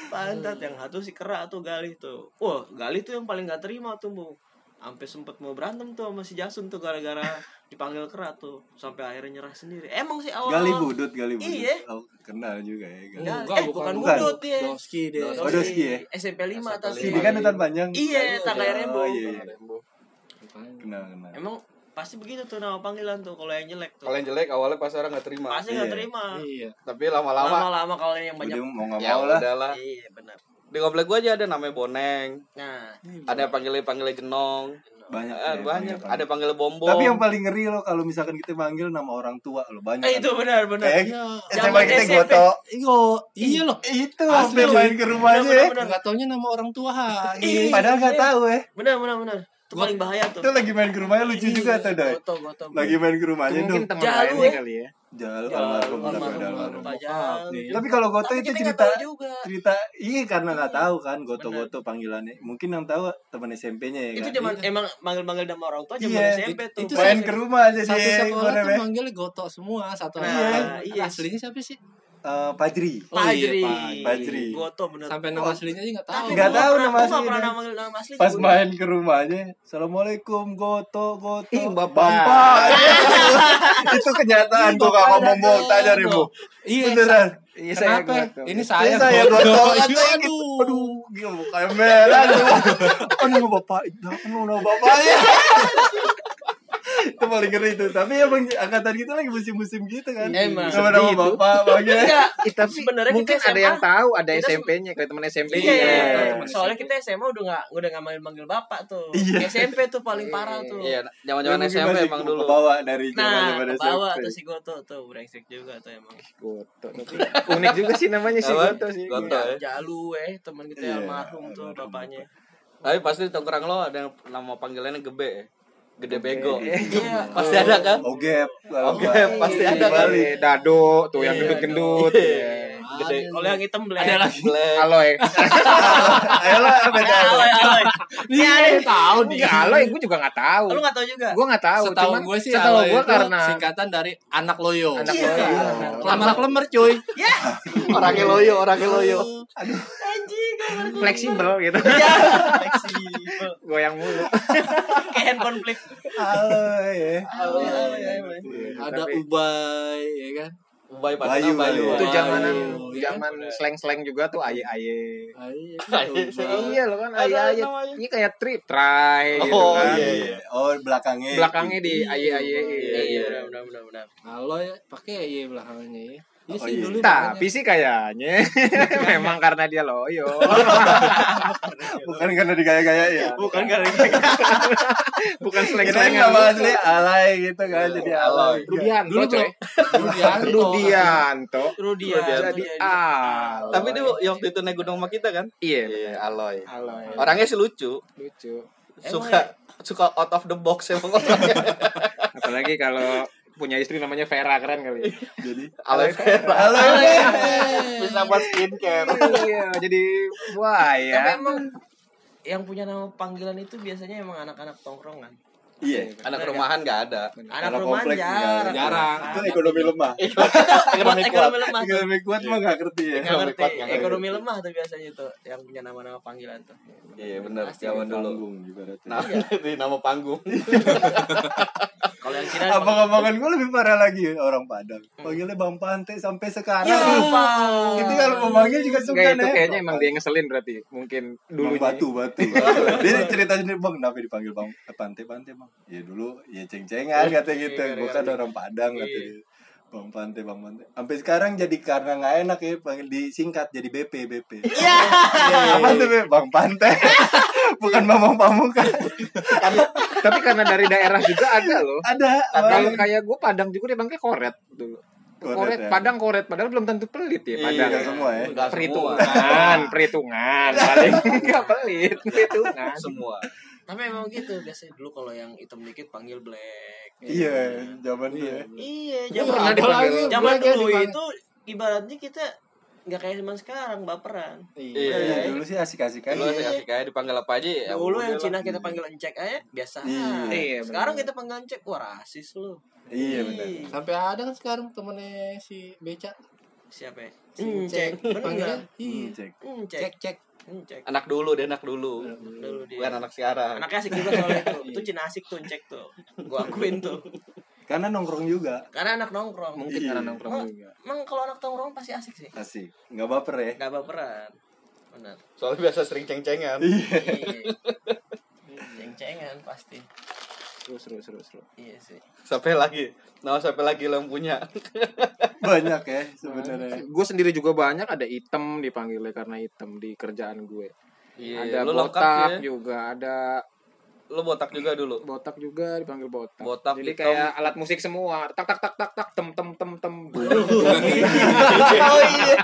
Speaker 2: pantat yang satu si kera tuh gali tuh wah gali tuh yang paling gak terima tuh bu sampai sempet mau berantem tuh sama si Jason tuh gara-gara dipanggil kera tuh sampai akhirnya nyerah sendiri emang sih awal
Speaker 4: Gali budut, gali budut.
Speaker 2: Oh. Iya.
Speaker 4: Oh, kenal juga ya. Gali.
Speaker 2: Enggak,
Speaker 5: Enggak,
Speaker 2: eh, bukan,
Speaker 5: bukan. ya.
Speaker 2: budut dia.
Speaker 5: Doski deh.
Speaker 4: Oh, Doski ya?
Speaker 2: SMP 5 atas.
Speaker 4: Si dia kan
Speaker 5: Gali.
Speaker 4: hutan panjang.
Speaker 2: Iya, tangkai rembo.
Speaker 4: Oh, iya, iya.
Speaker 5: Makanya.
Speaker 4: Kenal, kenal.
Speaker 2: Emang pasti begitu tuh nama panggilan tuh kalau yang jelek tuh.
Speaker 1: Kalau yang jelek awalnya pas orang nggak terima.
Speaker 2: pasti nggak
Speaker 4: Iya.
Speaker 2: terima.
Speaker 5: Iya.
Speaker 1: Tapi lama-lama
Speaker 2: Lama-lama kalau yang banyak.
Speaker 4: Udah mau nggak
Speaker 1: ya
Speaker 4: mau lah.
Speaker 1: udahlah.
Speaker 2: Iya, benar.
Speaker 1: Di komplek gua aja ada namanya Boneng,
Speaker 2: Nah,
Speaker 4: Iya.
Speaker 1: ada yang panggilnya panggilnya Jenong,
Speaker 4: Banyak.
Speaker 2: Ah,
Speaker 1: Eh,
Speaker 4: ya,
Speaker 1: banyak. Ada
Speaker 4: panggil.
Speaker 1: yang panggilnya Bombom.
Speaker 4: Tapi yang paling ngeri loh kalau misalkan kita manggil nama orang tua loh banyak.
Speaker 2: eh, itu benar benar.
Speaker 4: Eh,
Speaker 2: Zaman
Speaker 4: SMA kita
Speaker 2: SMP.
Speaker 4: gotok.
Speaker 5: Iya, iya loh.
Speaker 4: Itu
Speaker 5: Asli
Speaker 4: sampai
Speaker 5: loh.
Speaker 4: main ke rumahnya. ya.
Speaker 2: Bener.
Speaker 5: Enggak taunya nama orang tua. ha.
Speaker 2: Iya,
Speaker 4: Ih, Padahal nggak tahu ya.
Speaker 2: Benar benar benar. Itu
Speaker 5: Gua-
Speaker 2: paling bahaya tuh.
Speaker 4: Itu lagi main ke rumahnya lucu
Speaker 2: Iya,
Speaker 4: juga tuh, Doi.
Speaker 2: Gotong, gotong.
Speaker 4: Lagi main ke
Speaker 3: Itu
Speaker 4: rumahnya
Speaker 3: mungkin
Speaker 4: tuh.
Speaker 3: teman
Speaker 2: Jalu,
Speaker 3: lainnya
Speaker 2: ya.
Speaker 3: kali ya.
Speaker 4: Jalur
Speaker 2: Ya,
Speaker 4: almarhum, tapi
Speaker 2: almarhum,
Speaker 4: ada almarhum.
Speaker 2: almarhum.
Speaker 4: Tapi kalau goto
Speaker 2: Tapi
Speaker 4: itu
Speaker 2: kita nggak
Speaker 4: cerita
Speaker 2: tahu juga.
Speaker 4: cerita iya karena nggak tahu kan goto-goto panggilannya. Mungkin yang tahu teman SMP-nya ya
Speaker 2: Itu
Speaker 4: kan.
Speaker 2: zaman emang manggil-manggil nama orang tua zaman
Speaker 4: Iya,
Speaker 2: SMP tuh.
Speaker 5: itu
Speaker 4: main ke rumah aja sih.
Speaker 5: Satu sekolah
Speaker 4: Gimana,
Speaker 5: tuh
Speaker 4: Be?
Speaker 5: manggilnya gotok semua, satu
Speaker 2: Nah,
Speaker 5: angkatan.
Speaker 2: iya.
Speaker 5: Aslinya siapa sih?
Speaker 4: Eh, Pajri.
Speaker 5: Oh, iya,
Speaker 2: Pajri.
Speaker 4: Pajri.
Speaker 2: Goto benar.
Speaker 5: Sampai nama aslinya aja enggak tahu.
Speaker 2: Tapi
Speaker 4: Nggak
Speaker 2: gua
Speaker 4: tahu nama
Speaker 2: pernah- gua nggak
Speaker 4: aslinya.
Speaker 2: pernah manggil nama aslinya.
Speaker 4: Pas
Speaker 2: gua.
Speaker 4: main ke rumahnya, Assalamualaikum, goto, goto.
Speaker 6: Ih, Bapak.
Speaker 4: itu kenyataan tuh gak ngomong bohong tanya deh, Bu.
Speaker 5: Iya.
Speaker 4: Beneran.
Speaker 6: Iya saya
Speaker 5: Kenapa?
Speaker 6: gotok.
Speaker 5: Ini
Speaker 4: Saya saya
Speaker 5: saya.
Speaker 4: goto.
Speaker 5: Iya,
Speaker 4: Aduh, gitu. aduh,
Speaker 5: Aduh.
Speaker 4: gila mukanya merah. tuh. Aduh, Kan Bapak, jangan lu nama bapaknya. itu paling ngeri itu. Tapi emang angkatan kita lagi musim-musim gitu kan.
Speaker 5: Emang
Speaker 4: Nama-nama
Speaker 6: sedih itu.
Speaker 4: bapak, bagian.
Speaker 2: Enggak,
Speaker 3: Eh, tapi
Speaker 2: Sebenarnya
Speaker 3: mungkin
Speaker 2: kita
Speaker 3: ada
Speaker 2: SMA.
Speaker 3: yang tahu, ada
Speaker 2: Kita
Speaker 3: SMP-nya, kayak teman SMP-nya.
Speaker 2: Iya,
Speaker 4: Iya.
Speaker 2: soalnya kita SMA udah nggak udah nggak manggil manggil bapak tuh. SMP tuh paling parah tuh.
Speaker 1: Iya, zaman-zaman
Speaker 4: Mungkin
Speaker 1: SMP
Speaker 4: masih
Speaker 1: emang
Speaker 4: ke-
Speaker 1: dulu.
Speaker 4: kebawa dari
Speaker 2: Nah,
Speaker 4: zaman-zaman
Speaker 2: bawa
Speaker 4: SMP.
Speaker 2: tuh si Goto tuh brengsek juga tuh emang.
Speaker 3: Goto. Tapi unik juga sih namanya sih
Speaker 1: Apa?
Speaker 3: Goto sih.
Speaker 1: Goto ya.
Speaker 2: Jalu eh teman kita
Speaker 4: Iya,
Speaker 2: almarhum tuh bapaknya.
Speaker 1: Tapi pasti di tongkrong lo ada yang nama panggilannya gede ya. Gede bego.
Speaker 2: Iya.
Speaker 1: Pasti ada kan?
Speaker 4: Ogep. kalau
Speaker 1: Oke,
Speaker 4: nggak.
Speaker 1: pasti ada
Speaker 3: Iya,
Speaker 1: kali.
Speaker 3: Dado tuh yang gendut-gendut.
Speaker 1: Iya.
Speaker 3: Iya.
Speaker 1: Gede.
Speaker 2: Kalau yang hitam black.
Speaker 5: Ada lagi.
Speaker 1: Black.
Speaker 3: Aloy.
Speaker 4: Ayolah, beda.
Speaker 2: Aloy, Aloy.
Speaker 5: Iya, ada yang tahu dia.
Speaker 3: Enggak, Aloy gue juga nggak tahu.
Speaker 2: Lu nggak tahu juga?
Speaker 3: Gue nggak tahu.
Speaker 5: Setahu
Speaker 3: cuman
Speaker 5: gue sih
Speaker 3: setahu
Speaker 5: Aloy
Speaker 3: gue
Speaker 5: itu
Speaker 3: karena
Speaker 5: singkatan dari anak loyo.
Speaker 3: anak
Speaker 2: Iya.
Speaker 3: Aloy.
Speaker 5: Lamarak lemer cuy.
Speaker 6: Orangnya loyo, orangnya
Speaker 4: Oh, iya.
Speaker 6: loyo.
Speaker 2: Anjing, gambar gua.
Speaker 3: Fleksibel gitu.
Speaker 2: Ya, fleksibel.
Speaker 3: Goyang mulu.
Speaker 2: Kayak handphone flip.
Speaker 4: Halo, ya.
Speaker 2: Aloy, Aloy, Aloy.
Speaker 5: Ada
Speaker 3: Tapi-
Speaker 5: Ubay, ya kan?
Speaker 1: Ubay
Speaker 4: Bayu,
Speaker 1: Padahal Bayu.
Speaker 4: Bayu.
Speaker 3: Itu
Speaker 5: Wah,
Speaker 3: zamanan
Speaker 5: iya.
Speaker 3: zaman slang-slang juga tuh aye-aye.
Speaker 5: Ah, iya,
Speaker 3: Iya loh kan
Speaker 1: Ada
Speaker 3: aye-aye.
Speaker 1: nama aye.
Speaker 3: Iya kayak trip try gitu
Speaker 4: Oh,
Speaker 3: kan.
Speaker 4: iya, iya. Oh, belakangnya.
Speaker 3: Belakangnya di aye-aye.
Speaker 1: Iya, iya.
Speaker 2: Benar, benar, benar, benar.
Speaker 5: Aloy pakai ya belakangnya ya. Iya
Speaker 4: Oh,
Speaker 5: sih
Speaker 4: iya.
Speaker 5: dulu
Speaker 3: Tapi
Speaker 5: makanya.
Speaker 3: sih kayaknya memang karena dia loyo.
Speaker 4: Bukan karena digaya-gaya ya.
Speaker 2: Bukan gara-gara
Speaker 3: Bukan
Speaker 4: Kirain
Speaker 3: slang-slangan.
Speaker 4: nama asli alay gitu kan. Jadi alay.
Speaker 3: Rudianto
Speaker 5: Dulu
Speaker 3: coy.
Speaker 5: belum. Rudianto.
Speaker 3: Rudianto.
Speaker 2: Rudian tuh jadi
Speaker 3: Jadi Aloy.
Speaker 1: Tapi dia waktu itu naik gunung sama kita kan?
Speaker 3: Iya.
Speaker 1: Iya, Aloy.
Speaker 3: Aloy.
Speaker 1: Orangnya sih lucu.
Speaker 3: Lucu.
Speaker 1: Suka suka out of the box emang orangnya.
Speaker 3: Apalagi kalau punya istri namanya Vera keren kali. ya.
Speaker 4: Jadi
Speaker 1: Aloe Vera.
Speaker 4: alay.
Speaker 6: Bisa buat skincare.
Speaker 3: Iya, jadi ya. buaya.
Speaker 2: Tapi emang yang punya nama panggilan itu biasanya emang anak-anak tongkrongan.
Speaker 4: Iya.
Speaker 1: Anak rumahan nggak ada.
Speaker 2: Anak
Speaker 4: Anak
Speaker 2: rumahan
Speaker 4: komplek
Speaker 2: iya, jarang. Iya,
Speaker 5: Jarang.
Speaker 4: Itu ekonomi lemah.
Speaker 2: Ekonomi, ekonomi lemah. tuh.
Speaker 4: Ekonomi kuat mah nggak ngerti ya.
Speaker 2: Nggak ngerti.
Speaker 1: kuat, nggak ngerti.
Speaker 2: Ekonomi lemah tuh biasanya tuh yang punya nama-nama panggilan tuh.
Speaker 1: Iya benar, zaman dulu.
Speaker 4: Panggung ibaratnya.
Speaker 1: Nah, di nama panggung.
Speaker 2: Kalau yang Cina emang-
Speaker 4: Abang-abangan gue lebih parah lagi orang Padang.
Speaker 2: Hmm.
Speaker 4: Panggilnya Bang Pante sampai sekarang.
Speaker 2: Ya,
Speaker 4: Itu kalau mau panggil juga suka
Speaker 3: Enggak itu
Speaker 4: Nek.
Speaker 3: kayaknya
Speaker 4: Bang
Speaker 3: emang
Speaker 4: Pante.
Speaker 3: dia yang ngeselin berarti. Mungkin
Speaker 4: Bang
Speaker 3: dulunya.
Speaker 4: batu batu. Dia cerita sendiri bang, kenapa dipanggil bang eh, Pante Pante bang? Ya dulu ya ceng-cengan kata gitu, bukan orang Padang kata dia. Bang Pante Bang Pante. Sampai sekarang jadi karena nggak enak ya panggil disingkat jadi BP BP. Iya. Apa tuh Beb? Bang Pante? bukan Bang Pamukas.
Speaker 3: Tapi karena dari daerah juga ada loh.
Speaker 4: Ada.
Speaker 3: Kalau
Speaker 4: Bang.
Speaker 3: kayak gue Padang juga dia panggil koret dulu.
Speaker 4: Koret,
Speaker 3: Koret,
Speaker 4: ya.
Speaker 3: Padang koret padahal belum tentu pelit ya
Speaker 4: Iya
Speaker 3: Padang.
Speaker 4: nggak semua ya.
Speaker 6: Enggak semua.
Speaker 3: Perhitungan, perhitungan paling enggak pelit, perhitungan.
Speaker 6: Semua.
Speaker 2: Tapi emang gitu biasanya dulu kalau yang hitam dikit panggil black.
Speaker 4: Iya, zaman dulu ya.
Speaker 2: Iya,
Speaker 3: Iya,
Speaker 2: zaman
Speaker 3: ada lagi,
Speaker 2: zaman
Speaker 4: black ya
Speaker 2: dulu
Speaker 4: dipanggil.
Speaker 2: itu ibaratnya kita nggak kayak zaman sekarang baperan.
Speaker 1: Iya.
Speaker 4: Iya, dulu sih asik-asik
Speaker 1: Lu
Speaker 4: aja.
Speaker 1: asik-asik aja dipanggil apa aja ya.
Speaker 2: Dulu
Speaker 1: udah
Speaker 2: yang
Speaker 1: lah.
Speaker 2: Cina kita panggil encek aja biasa.
Speaker 4: Iya.
Speaker 2: sekarang kita panggil encek wah rasis lu.
Speaker 4: Iya benar.
Speaker 2: Ih,
Speaker 5: Sampai ada kan sekarang temennya si Beca.
Speaker 2: Siapa? Ya?
Speaker 5: Si
Speaker 2: Encek.
Speaker 5: Panggilnya.
Speaker 4: Hmm,
Speaker 2: Bener.
Speaker 5: Iya.
Speaker 4: cek.
Speaker 2: Encek.
Speaker 5: Cek cek.
Speaker 2: Encek.
Speaker 1: Anak dulu, dia anak dulu.
Speaker 2: Dulu dia.
Speaker 1: Bukan Iya. anak sekarang.
Speaker 2: Anaknya asik juga soalnya itu. Itu Cina asik tuh encek tuh. Gua akuin tuh.
Speaker 4: Karena nongkrong juga.
Speaker 2: Karena anak
Speaker 4: Iya.
Speaker 2: nongkrong. Iya.
Speaker 3: Mungkin karena nongkrong
Speaker 2: Emang,
Speaker 3: juga.
Speaker 2: emang kalau anak nongkrong pasti asik sih.
Speaker 4: Asik. Nggak baper ya.
Speaker 2: Gak baperan. Benar.
Speaker 1: Soalnya biasa sering ceng-cengan.
Speaker 2: Iya. Ceng-cengan pasti.
Speaker 3: Seru seru seru seru.
Speaker 2: Iya sih.
Speaker 1: Sampai lagi. Nah, sampai lagi lo yang punya.
Speaker 4: Banyak ya sebenarnya.
Speaker 3: Gue sendiri juga banyak ada item dipanggilnya karena item di kerjaan gue. ada
Speaker 1: Iya, lu lengkap
Speaker 3: botak
Speaker 1: ya.
Speaker 3: juga, ada
Speaker 1: Lu botak juga dulu.
Speaker 3: botak juga dipanggil botak.
Speaker 1: Botak,
Speaker 3: Jadi
Speaker 1: hitam.
Speaker 3: kayak alat musik semua. Tak tak tak tak tak tem tem tem tem. iya.
Speaker 6: Oh iya.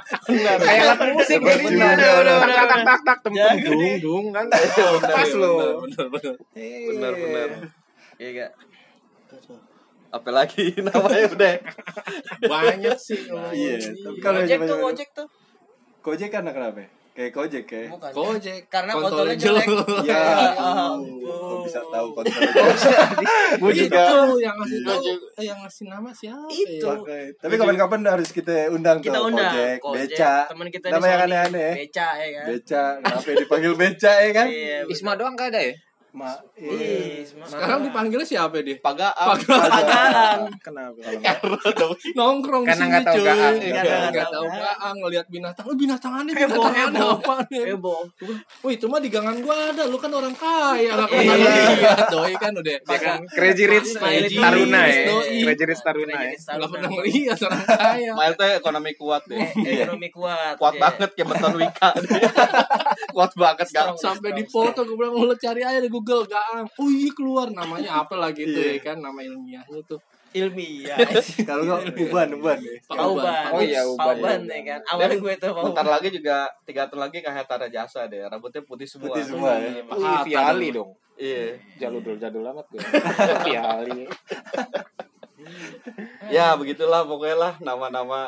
Speaker 3: kayak alat musik
Speaker 4: Bener,
Speaker 3: jadi
Speaker 4: bener,
Speaker 3: tak
Speaker 4: bener.
Speaker 3: tak tak tak tak tem tem dung dung kan.
Speaker 1: Iya,
Speaker 3: Pas lo.
Speaker 5: Bener bener.
Speaker 1: Benar, benar.
Speaker 2: Iya gak?
Speaker 1: Apa lagi namanya udah.
Speaker 5: Banyak sih. kalau
Speaker 4: Iya,
Speaker 5: gua.
Speaker 4: tapi kalau
Speaker 2: Gojek
Speaker 4: zaman-
Speaker 2: tuh gojek tuh.
Speaker 4: Gojek karena kenapa? ya? Kayak Gojek Iya. ya.
Speaker 2: Bukan.
Speaker 5: Gojek.
Speaker 2: Karena kontolnya
Speaker 5: Kontolnya
Speaker 2: jelek.
Speaker 5: jelek.
Speaker 4: Ya,
Speaker 2: Ah,
Speaker 4: kok bisa tahu kontrol
Speaker 5: Gue
Speaker 4: juga.
Speaker 5: yang ngasih
Speaker 4: Oh, Iya.
Speaker 5: tahu, eh, yang ngasih nama siapa?
Speaker 2: Itu.
Speaker 5: ya?
Speaker 4: Tapi kapan-kapan harus kita undang
Speaker 2: Kita
Speaker 4: tuh
Speaker 2: undang
Speaker 4: Gojek,
Speaker 2: Gojek,
Speaker 4: Beca.
Speaker 2: Teman kita
Speaker 4: Nama yang
Speaker 2: Sony.
Speaker 4: aneh-aneh ya.
Speaker 2: Beca ya kan.
Speaker 4: Beca, kenapa dipanggil Beca ya kan?
Speaker 2: Iya. bener.
Speaker 3: Isma doang gak ada ya?
Speaker 4: Ma, iya.
Speaker 2: Ih, Isma.
Speaker 5: Sekarang dipanggilnya siapa dia?
Speaker 1: Pagaan.
Speaker 5: Pagar
Speaker 2: Pagaan.
Speaker 3: Kenapa?
Speaker 5: nongkrong di
Speaker 3: Karena
Speaker 5: sini
Speaker 3: nggak tahu
Speaker 5: cuy.
Speaker 3: gaang.
Speaker 5: Iya,
Speaker 2: Karena nggak
Speaker 5: nggak
Speaker 2: tahu
Speaker 5: tahu
Speaker 2: gaang.
Speaker 5: gaang ngelihat binatang. Lu binatangannya
Speaker 2: Heboh,
Speaker 5: binatangannya
Speaker 2: heboh.
Speaker 5: apa nih?
Speaker 2: Heboh.
Speaker 5: Wih, itu mah di gangan gua ada. Lu kan orang kaya. Lah kenapa lihat doi kan udah.
Speaker 3: Iya, Dia kan Crazy Rich
Speaker 2: Smiley
Speaker 5: Crazy
Speaker 3: Taruna ya.
Speaker 2: Iya,
Speaker 5: Rich, doi.
Speaker 3: Crazy Rich Taruna
Speaker 2: Keren
Speaker 3: ya.
Speaker 2: jadi
Speaker 5: Enggak pernah
Speaker 2: saruna.
Speaker 5: ngelihat orang kaya.
Speaker 1: Mail tuh ekonomi kuat deh.
Speaker 2: Eh, Ekonomi kuat.
Speaker 1: Kuat
Speaker 2: iya.
Speaker 1: banget kayak beton wika deh. kuat banget kan.
Speaker 2: Strong,
Speaker 5: Sampai
Speaker 2: strong,
Speaker 5: di
Speaker 2: strong.
Speaker 5: foto gue bilang lu cari aja di Google gaang. Oh iya keluar namanya apa lagi itu
Speaker 3: Iya.
Speaker 5: ya kan nama ilmiahnya tuh.
Speaker 2: ilmiah.
Speaker 4: Kalau nggak uban, Iya, uban ya.
Speaker 2: ya. Pauban.
Speaker 3: Oh iya, Uban.
Speaker 2: Pauban ya kan. Awal
Speaker 1: Dan
Speaker 2: gue tuh
Speaker 1: Bentar
Speaker 2: Pauban.
Speaker 1: lagi juga tiga tahun lagi kayak Tara Jasa deh. Rambutnya putih semua.
Speaker 4: Putih semua ya.
Speaker 3: Wih, Viali dong.
Speaker 1: Iya.
Speaker 3: Jaludul jadul amat gue. Viali.
Speaker 1: Ya begitulah pokoknya lah nama-nama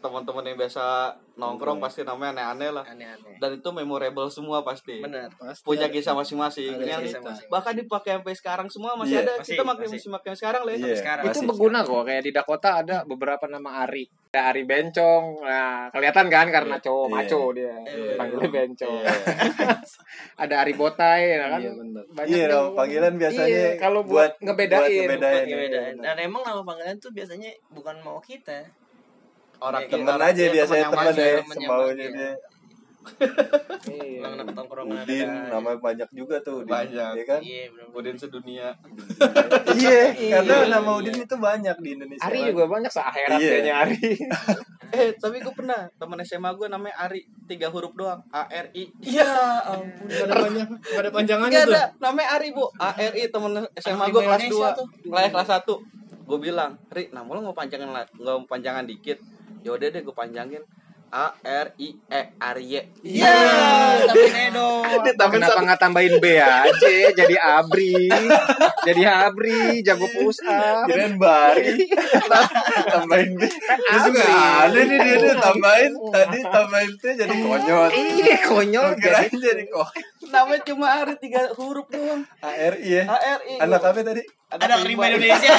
Speaker 1: teman-teman yang biasa nongkrong pasti namanya aneh-aneh lah.
Speaker 2: Aneh-aneh.
Speaker 1: Dan itu memorable semua pasti.
Speaker 2: Bener.
Speaker 5: Pasti
Speaker 1: Punya
Speaker 5: ada.
Speaker 1: kisah masing-masing.
Speaker 5: Ada
Speaker 1: Yang
Speaker 2: kisah masing-masing.
Speaker 1: bahkan dipakai sampai sekarang semua masih
Speaker 4: Iya.
Speaker 1: ada.
Speaker 2: Masih,
Speaker 1: Kita pakai
Speaker 2: masih.
Speaker 1: masih pakai sekarang lah. ya.
Speaker 4: Iya,
Speaker 2: sekarang.
Speaker 4: masih.
Speaker 3: Itu berguna kok. Kayak di Dakota ada beberapa nama Ari. Ada Ari Bencong. Nah, kelihatan kan karena cowok
Speaker 4: Iya.
Speaker 3: maco dia.
Speaker 2: Iya.
Speaker 3: Panggilnya Bencong.
Speaker 1: Iya.
Speaker 3: ada Ari Botai, ya kan?
Speaker 5: Iya, bener.
Speaker 3: Banyak
Speaker 4: Iya,
Speaker 3: tuh.
Speaker 4: dong, panggilan biasanya
Speaker 3: Iya, kalau buat,
Speaker 4: buat-
Speaker 3: ngebedain.
Speaker 4: buat ngebedain.
Speaker 2: Iya, bedain.
Speaker 4: bener.
Speaker 2: Dan emang nama panggilan tuh biasanya bukan mau kita.
Speaker 1: Orang
Speaker 2: Iya,
Speaker 1: kita-
Speaker 4: Temen
Speaker 1: orang-
Speaker 4: aja
Speaker 1: iya,
Speaker 4: biasanya
Speaker 1: yang
Speaker 4: temen
Speaker 1: maju,
Speaker 4: ya,
Speaker 2: temen yang
Speaker 4: semaunya
Speaker 2: maju.
Speaker 4: dia.
Speaker 3: Iya.
Speaker 2: Emang anak ketongkrongan
Speaker 4: Udin,
Speaker 2: ada.
Speaker 4: nama banyak juga tuh. Udin.
Speaker 1: Banyak.
Speaker 4: Iya kan?
Speaker 2: Iya, bener.
Speaker 1: Udin sedunia.
Speaker 4: Iya, karena nama Udin itu banyak di Indonesia.
Speaker 3: Ari juga banyak seakhirat
Speaker 4: Iya.
Speaker 3: kayaknya Ari.
Speaker 1: Eh tapi gue pernah teman SMA gue namanya Ari tiga huruf doang A R I.
Speaker 2: Ya ampun.
Speaker 5: Gak ada panjang, gak ada panjangannya
Speaker 1: Gak
Speaker 5: tuh.
Speaker 1: ada, namanya Ari bu ARI temen SMA
Speaker 2: Anak
Speaker 1: gue kelas
Speaker 2: Indonesia
Speaker 1: 2
Speaker 2: tuh.
Speaker 1: Kelas kelas 1 Gue bilang, Ri, nama lo mau panjangan la- nggak mau panjangan dikit Yaudah deh gue panjangin A R I E Arye Iya.
Speaker 2: Iya, tapi nedo.
Speaker 1: Ditambahin
Speaker 3: Kenapa
Speaker 1: satu
Speaker 3: nggak tambahin B aja? Jadi Abri, jadi Abri, jago push up.
Speaker 4: Kirain Bari tambahin dia. Dia suka aneh nih dia dia tambahin tadi tambahin tuh jadi konyol.
Speaker 3: Iya konyol
Speaker 4: Kirain
Speaker 3: jadi.
Speaker 4: jadi konyol.
Speaker 1: Namanya cuma Ari tiga huruf doang
Speaker 4: ARI ya.
Speaker 1: ARI
Speaker 4: Anak apa tadi?
Speaker 2: Ada rimba Indonesia.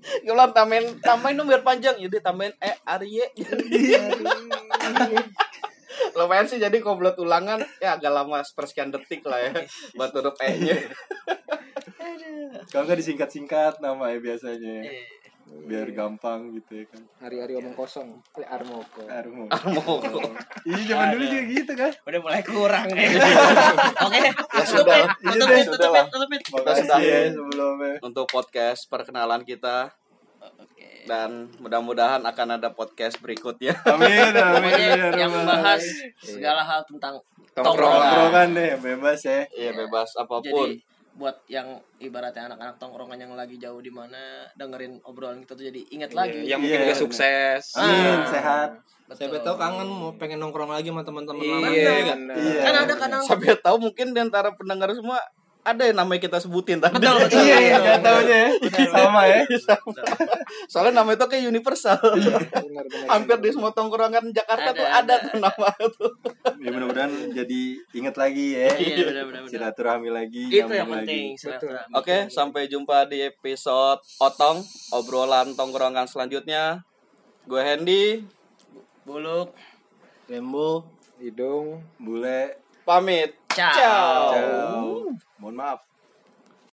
Speaker 1: Gue bilang tambahin, tambahin dong biar panjang Yaudah tambahin E Arye Lumayan sih jadi komplot ulangan Ya agak lama sepersekian detik lah ya Buat huruf E nya
Speaker 4: Kalau nggak disingkat-singkat namanya biasanya ya.
Speaker 2: Iya.
Speaker 4: Biar gampang gitu ya kan.
Speaker 6: Hari-hari omong kosong. Eh, Armoko.
Speaker 4: Armo.
Speaker 1: Armoko.
Speaker 4: Iya zaman dulu
Speaker 2: Ada.
Speaker 4: juga gitu kan.
Speaker 2: Udah mulai kurang nih. Oke, tutup
Speaker 1: sudah.
Speaker 2: ya,
Speaker 4: Iya
Speaker 2: tutup
Speaker 4: deh,
Speaker 2: ya,
Speaker 4: Iya. sudah
Speaker 2: tutup ya,
Speaker 4: lah.
Speaker 2: tutup ya.
Speaker 4: Makasih
Speaker 1: sudahin.
Speaker 4: ya sebelumnya.
Speaker 1: Untuk podcast perkenalan kita
Speaker 2: Oke.
Speaker 1: dan mudah-mudahan akan ada podcast berikutnya.
Speaker 4: Amin, amin.
Speaker 2: Pokoknya
Speaker 4: ya Rabbal
Speaker 2: yang membahas
Speaker 4: Alamin.
Speaker 2: segala hal tentang
Speaker 3: Tongkrongan.
Speaker 4: tongkrongan deh bebas ya.
Speaker 1: Iya bebas apapun.
Speaker 2: Jadi buat yang ibaratnya anak-anak tongkrongan yang lagi jauh di mana dengerin obrolan kita tuh jadi ingat lagi.
Speaker 3: Yang mungkin
Speaker 4: Iya,
Speaker 3: gak
Speaker 4: bener.
Speaker 3: sukses.
Speaker 4: Amin, sehat.
Speaker 2: Betul.
Speaker 5: Siapa tahu kangen mau pengen nongkrong lagi sama teman-teman lama.
Speaker 3: Iya,
Speaker 5: Iya, kan?
Speaker 3: bener.
Speaker 4: Iya.
Speaker 2: Kan ada kadang
Speaker 1: Sampai tahu mungkin di antara pendengar semua ada yang namanya kita sebutin tadi.
Speaker 2: Betul, betul.
Speaker 4: Iya, iya, nggak tahu ya. Sama ya.
Speaker 1: Soalnya namanya itu kayak universal.
Speaker 6: Benar, benar,
Speaker 1: Hampir
Speaker 6: benar.
Speaker 1: di semua tongkrongan Jakarta
Speaker 2: Ada,
Speaker 1: tuh ada,
Speaker 2: ada.
Speaker 1: tuh nama tuh.
Speaker 4: Ya mudah-mudahan jadi inget lagi ya.
Speaker 2: Iya, benar-benar.
Speaker 4: Silaturahmi lagi,
Speaker 2: Itu
Speaker 4: nyambung
Speaker 2: yang
Speaker 4: lagi.
Speaker 2: penting. silaturahmi.
Speaker 1: Oke, sampai jumpa di episode Otong, obrolan tongkrongan selanjutnya. Gue Hendy,
Speaker 2: Buluk.
Speaker 5: Rembo.
Speaker 6: Hidung.
Speaker 3: iya
Speaker 4: Bule,
Speaker 1: pamit.
Speaker 2: Ciao.
Speaker 1: Ciao.
Speaker 2: Oh.
Speaker 4: ciao. Mohon maaf.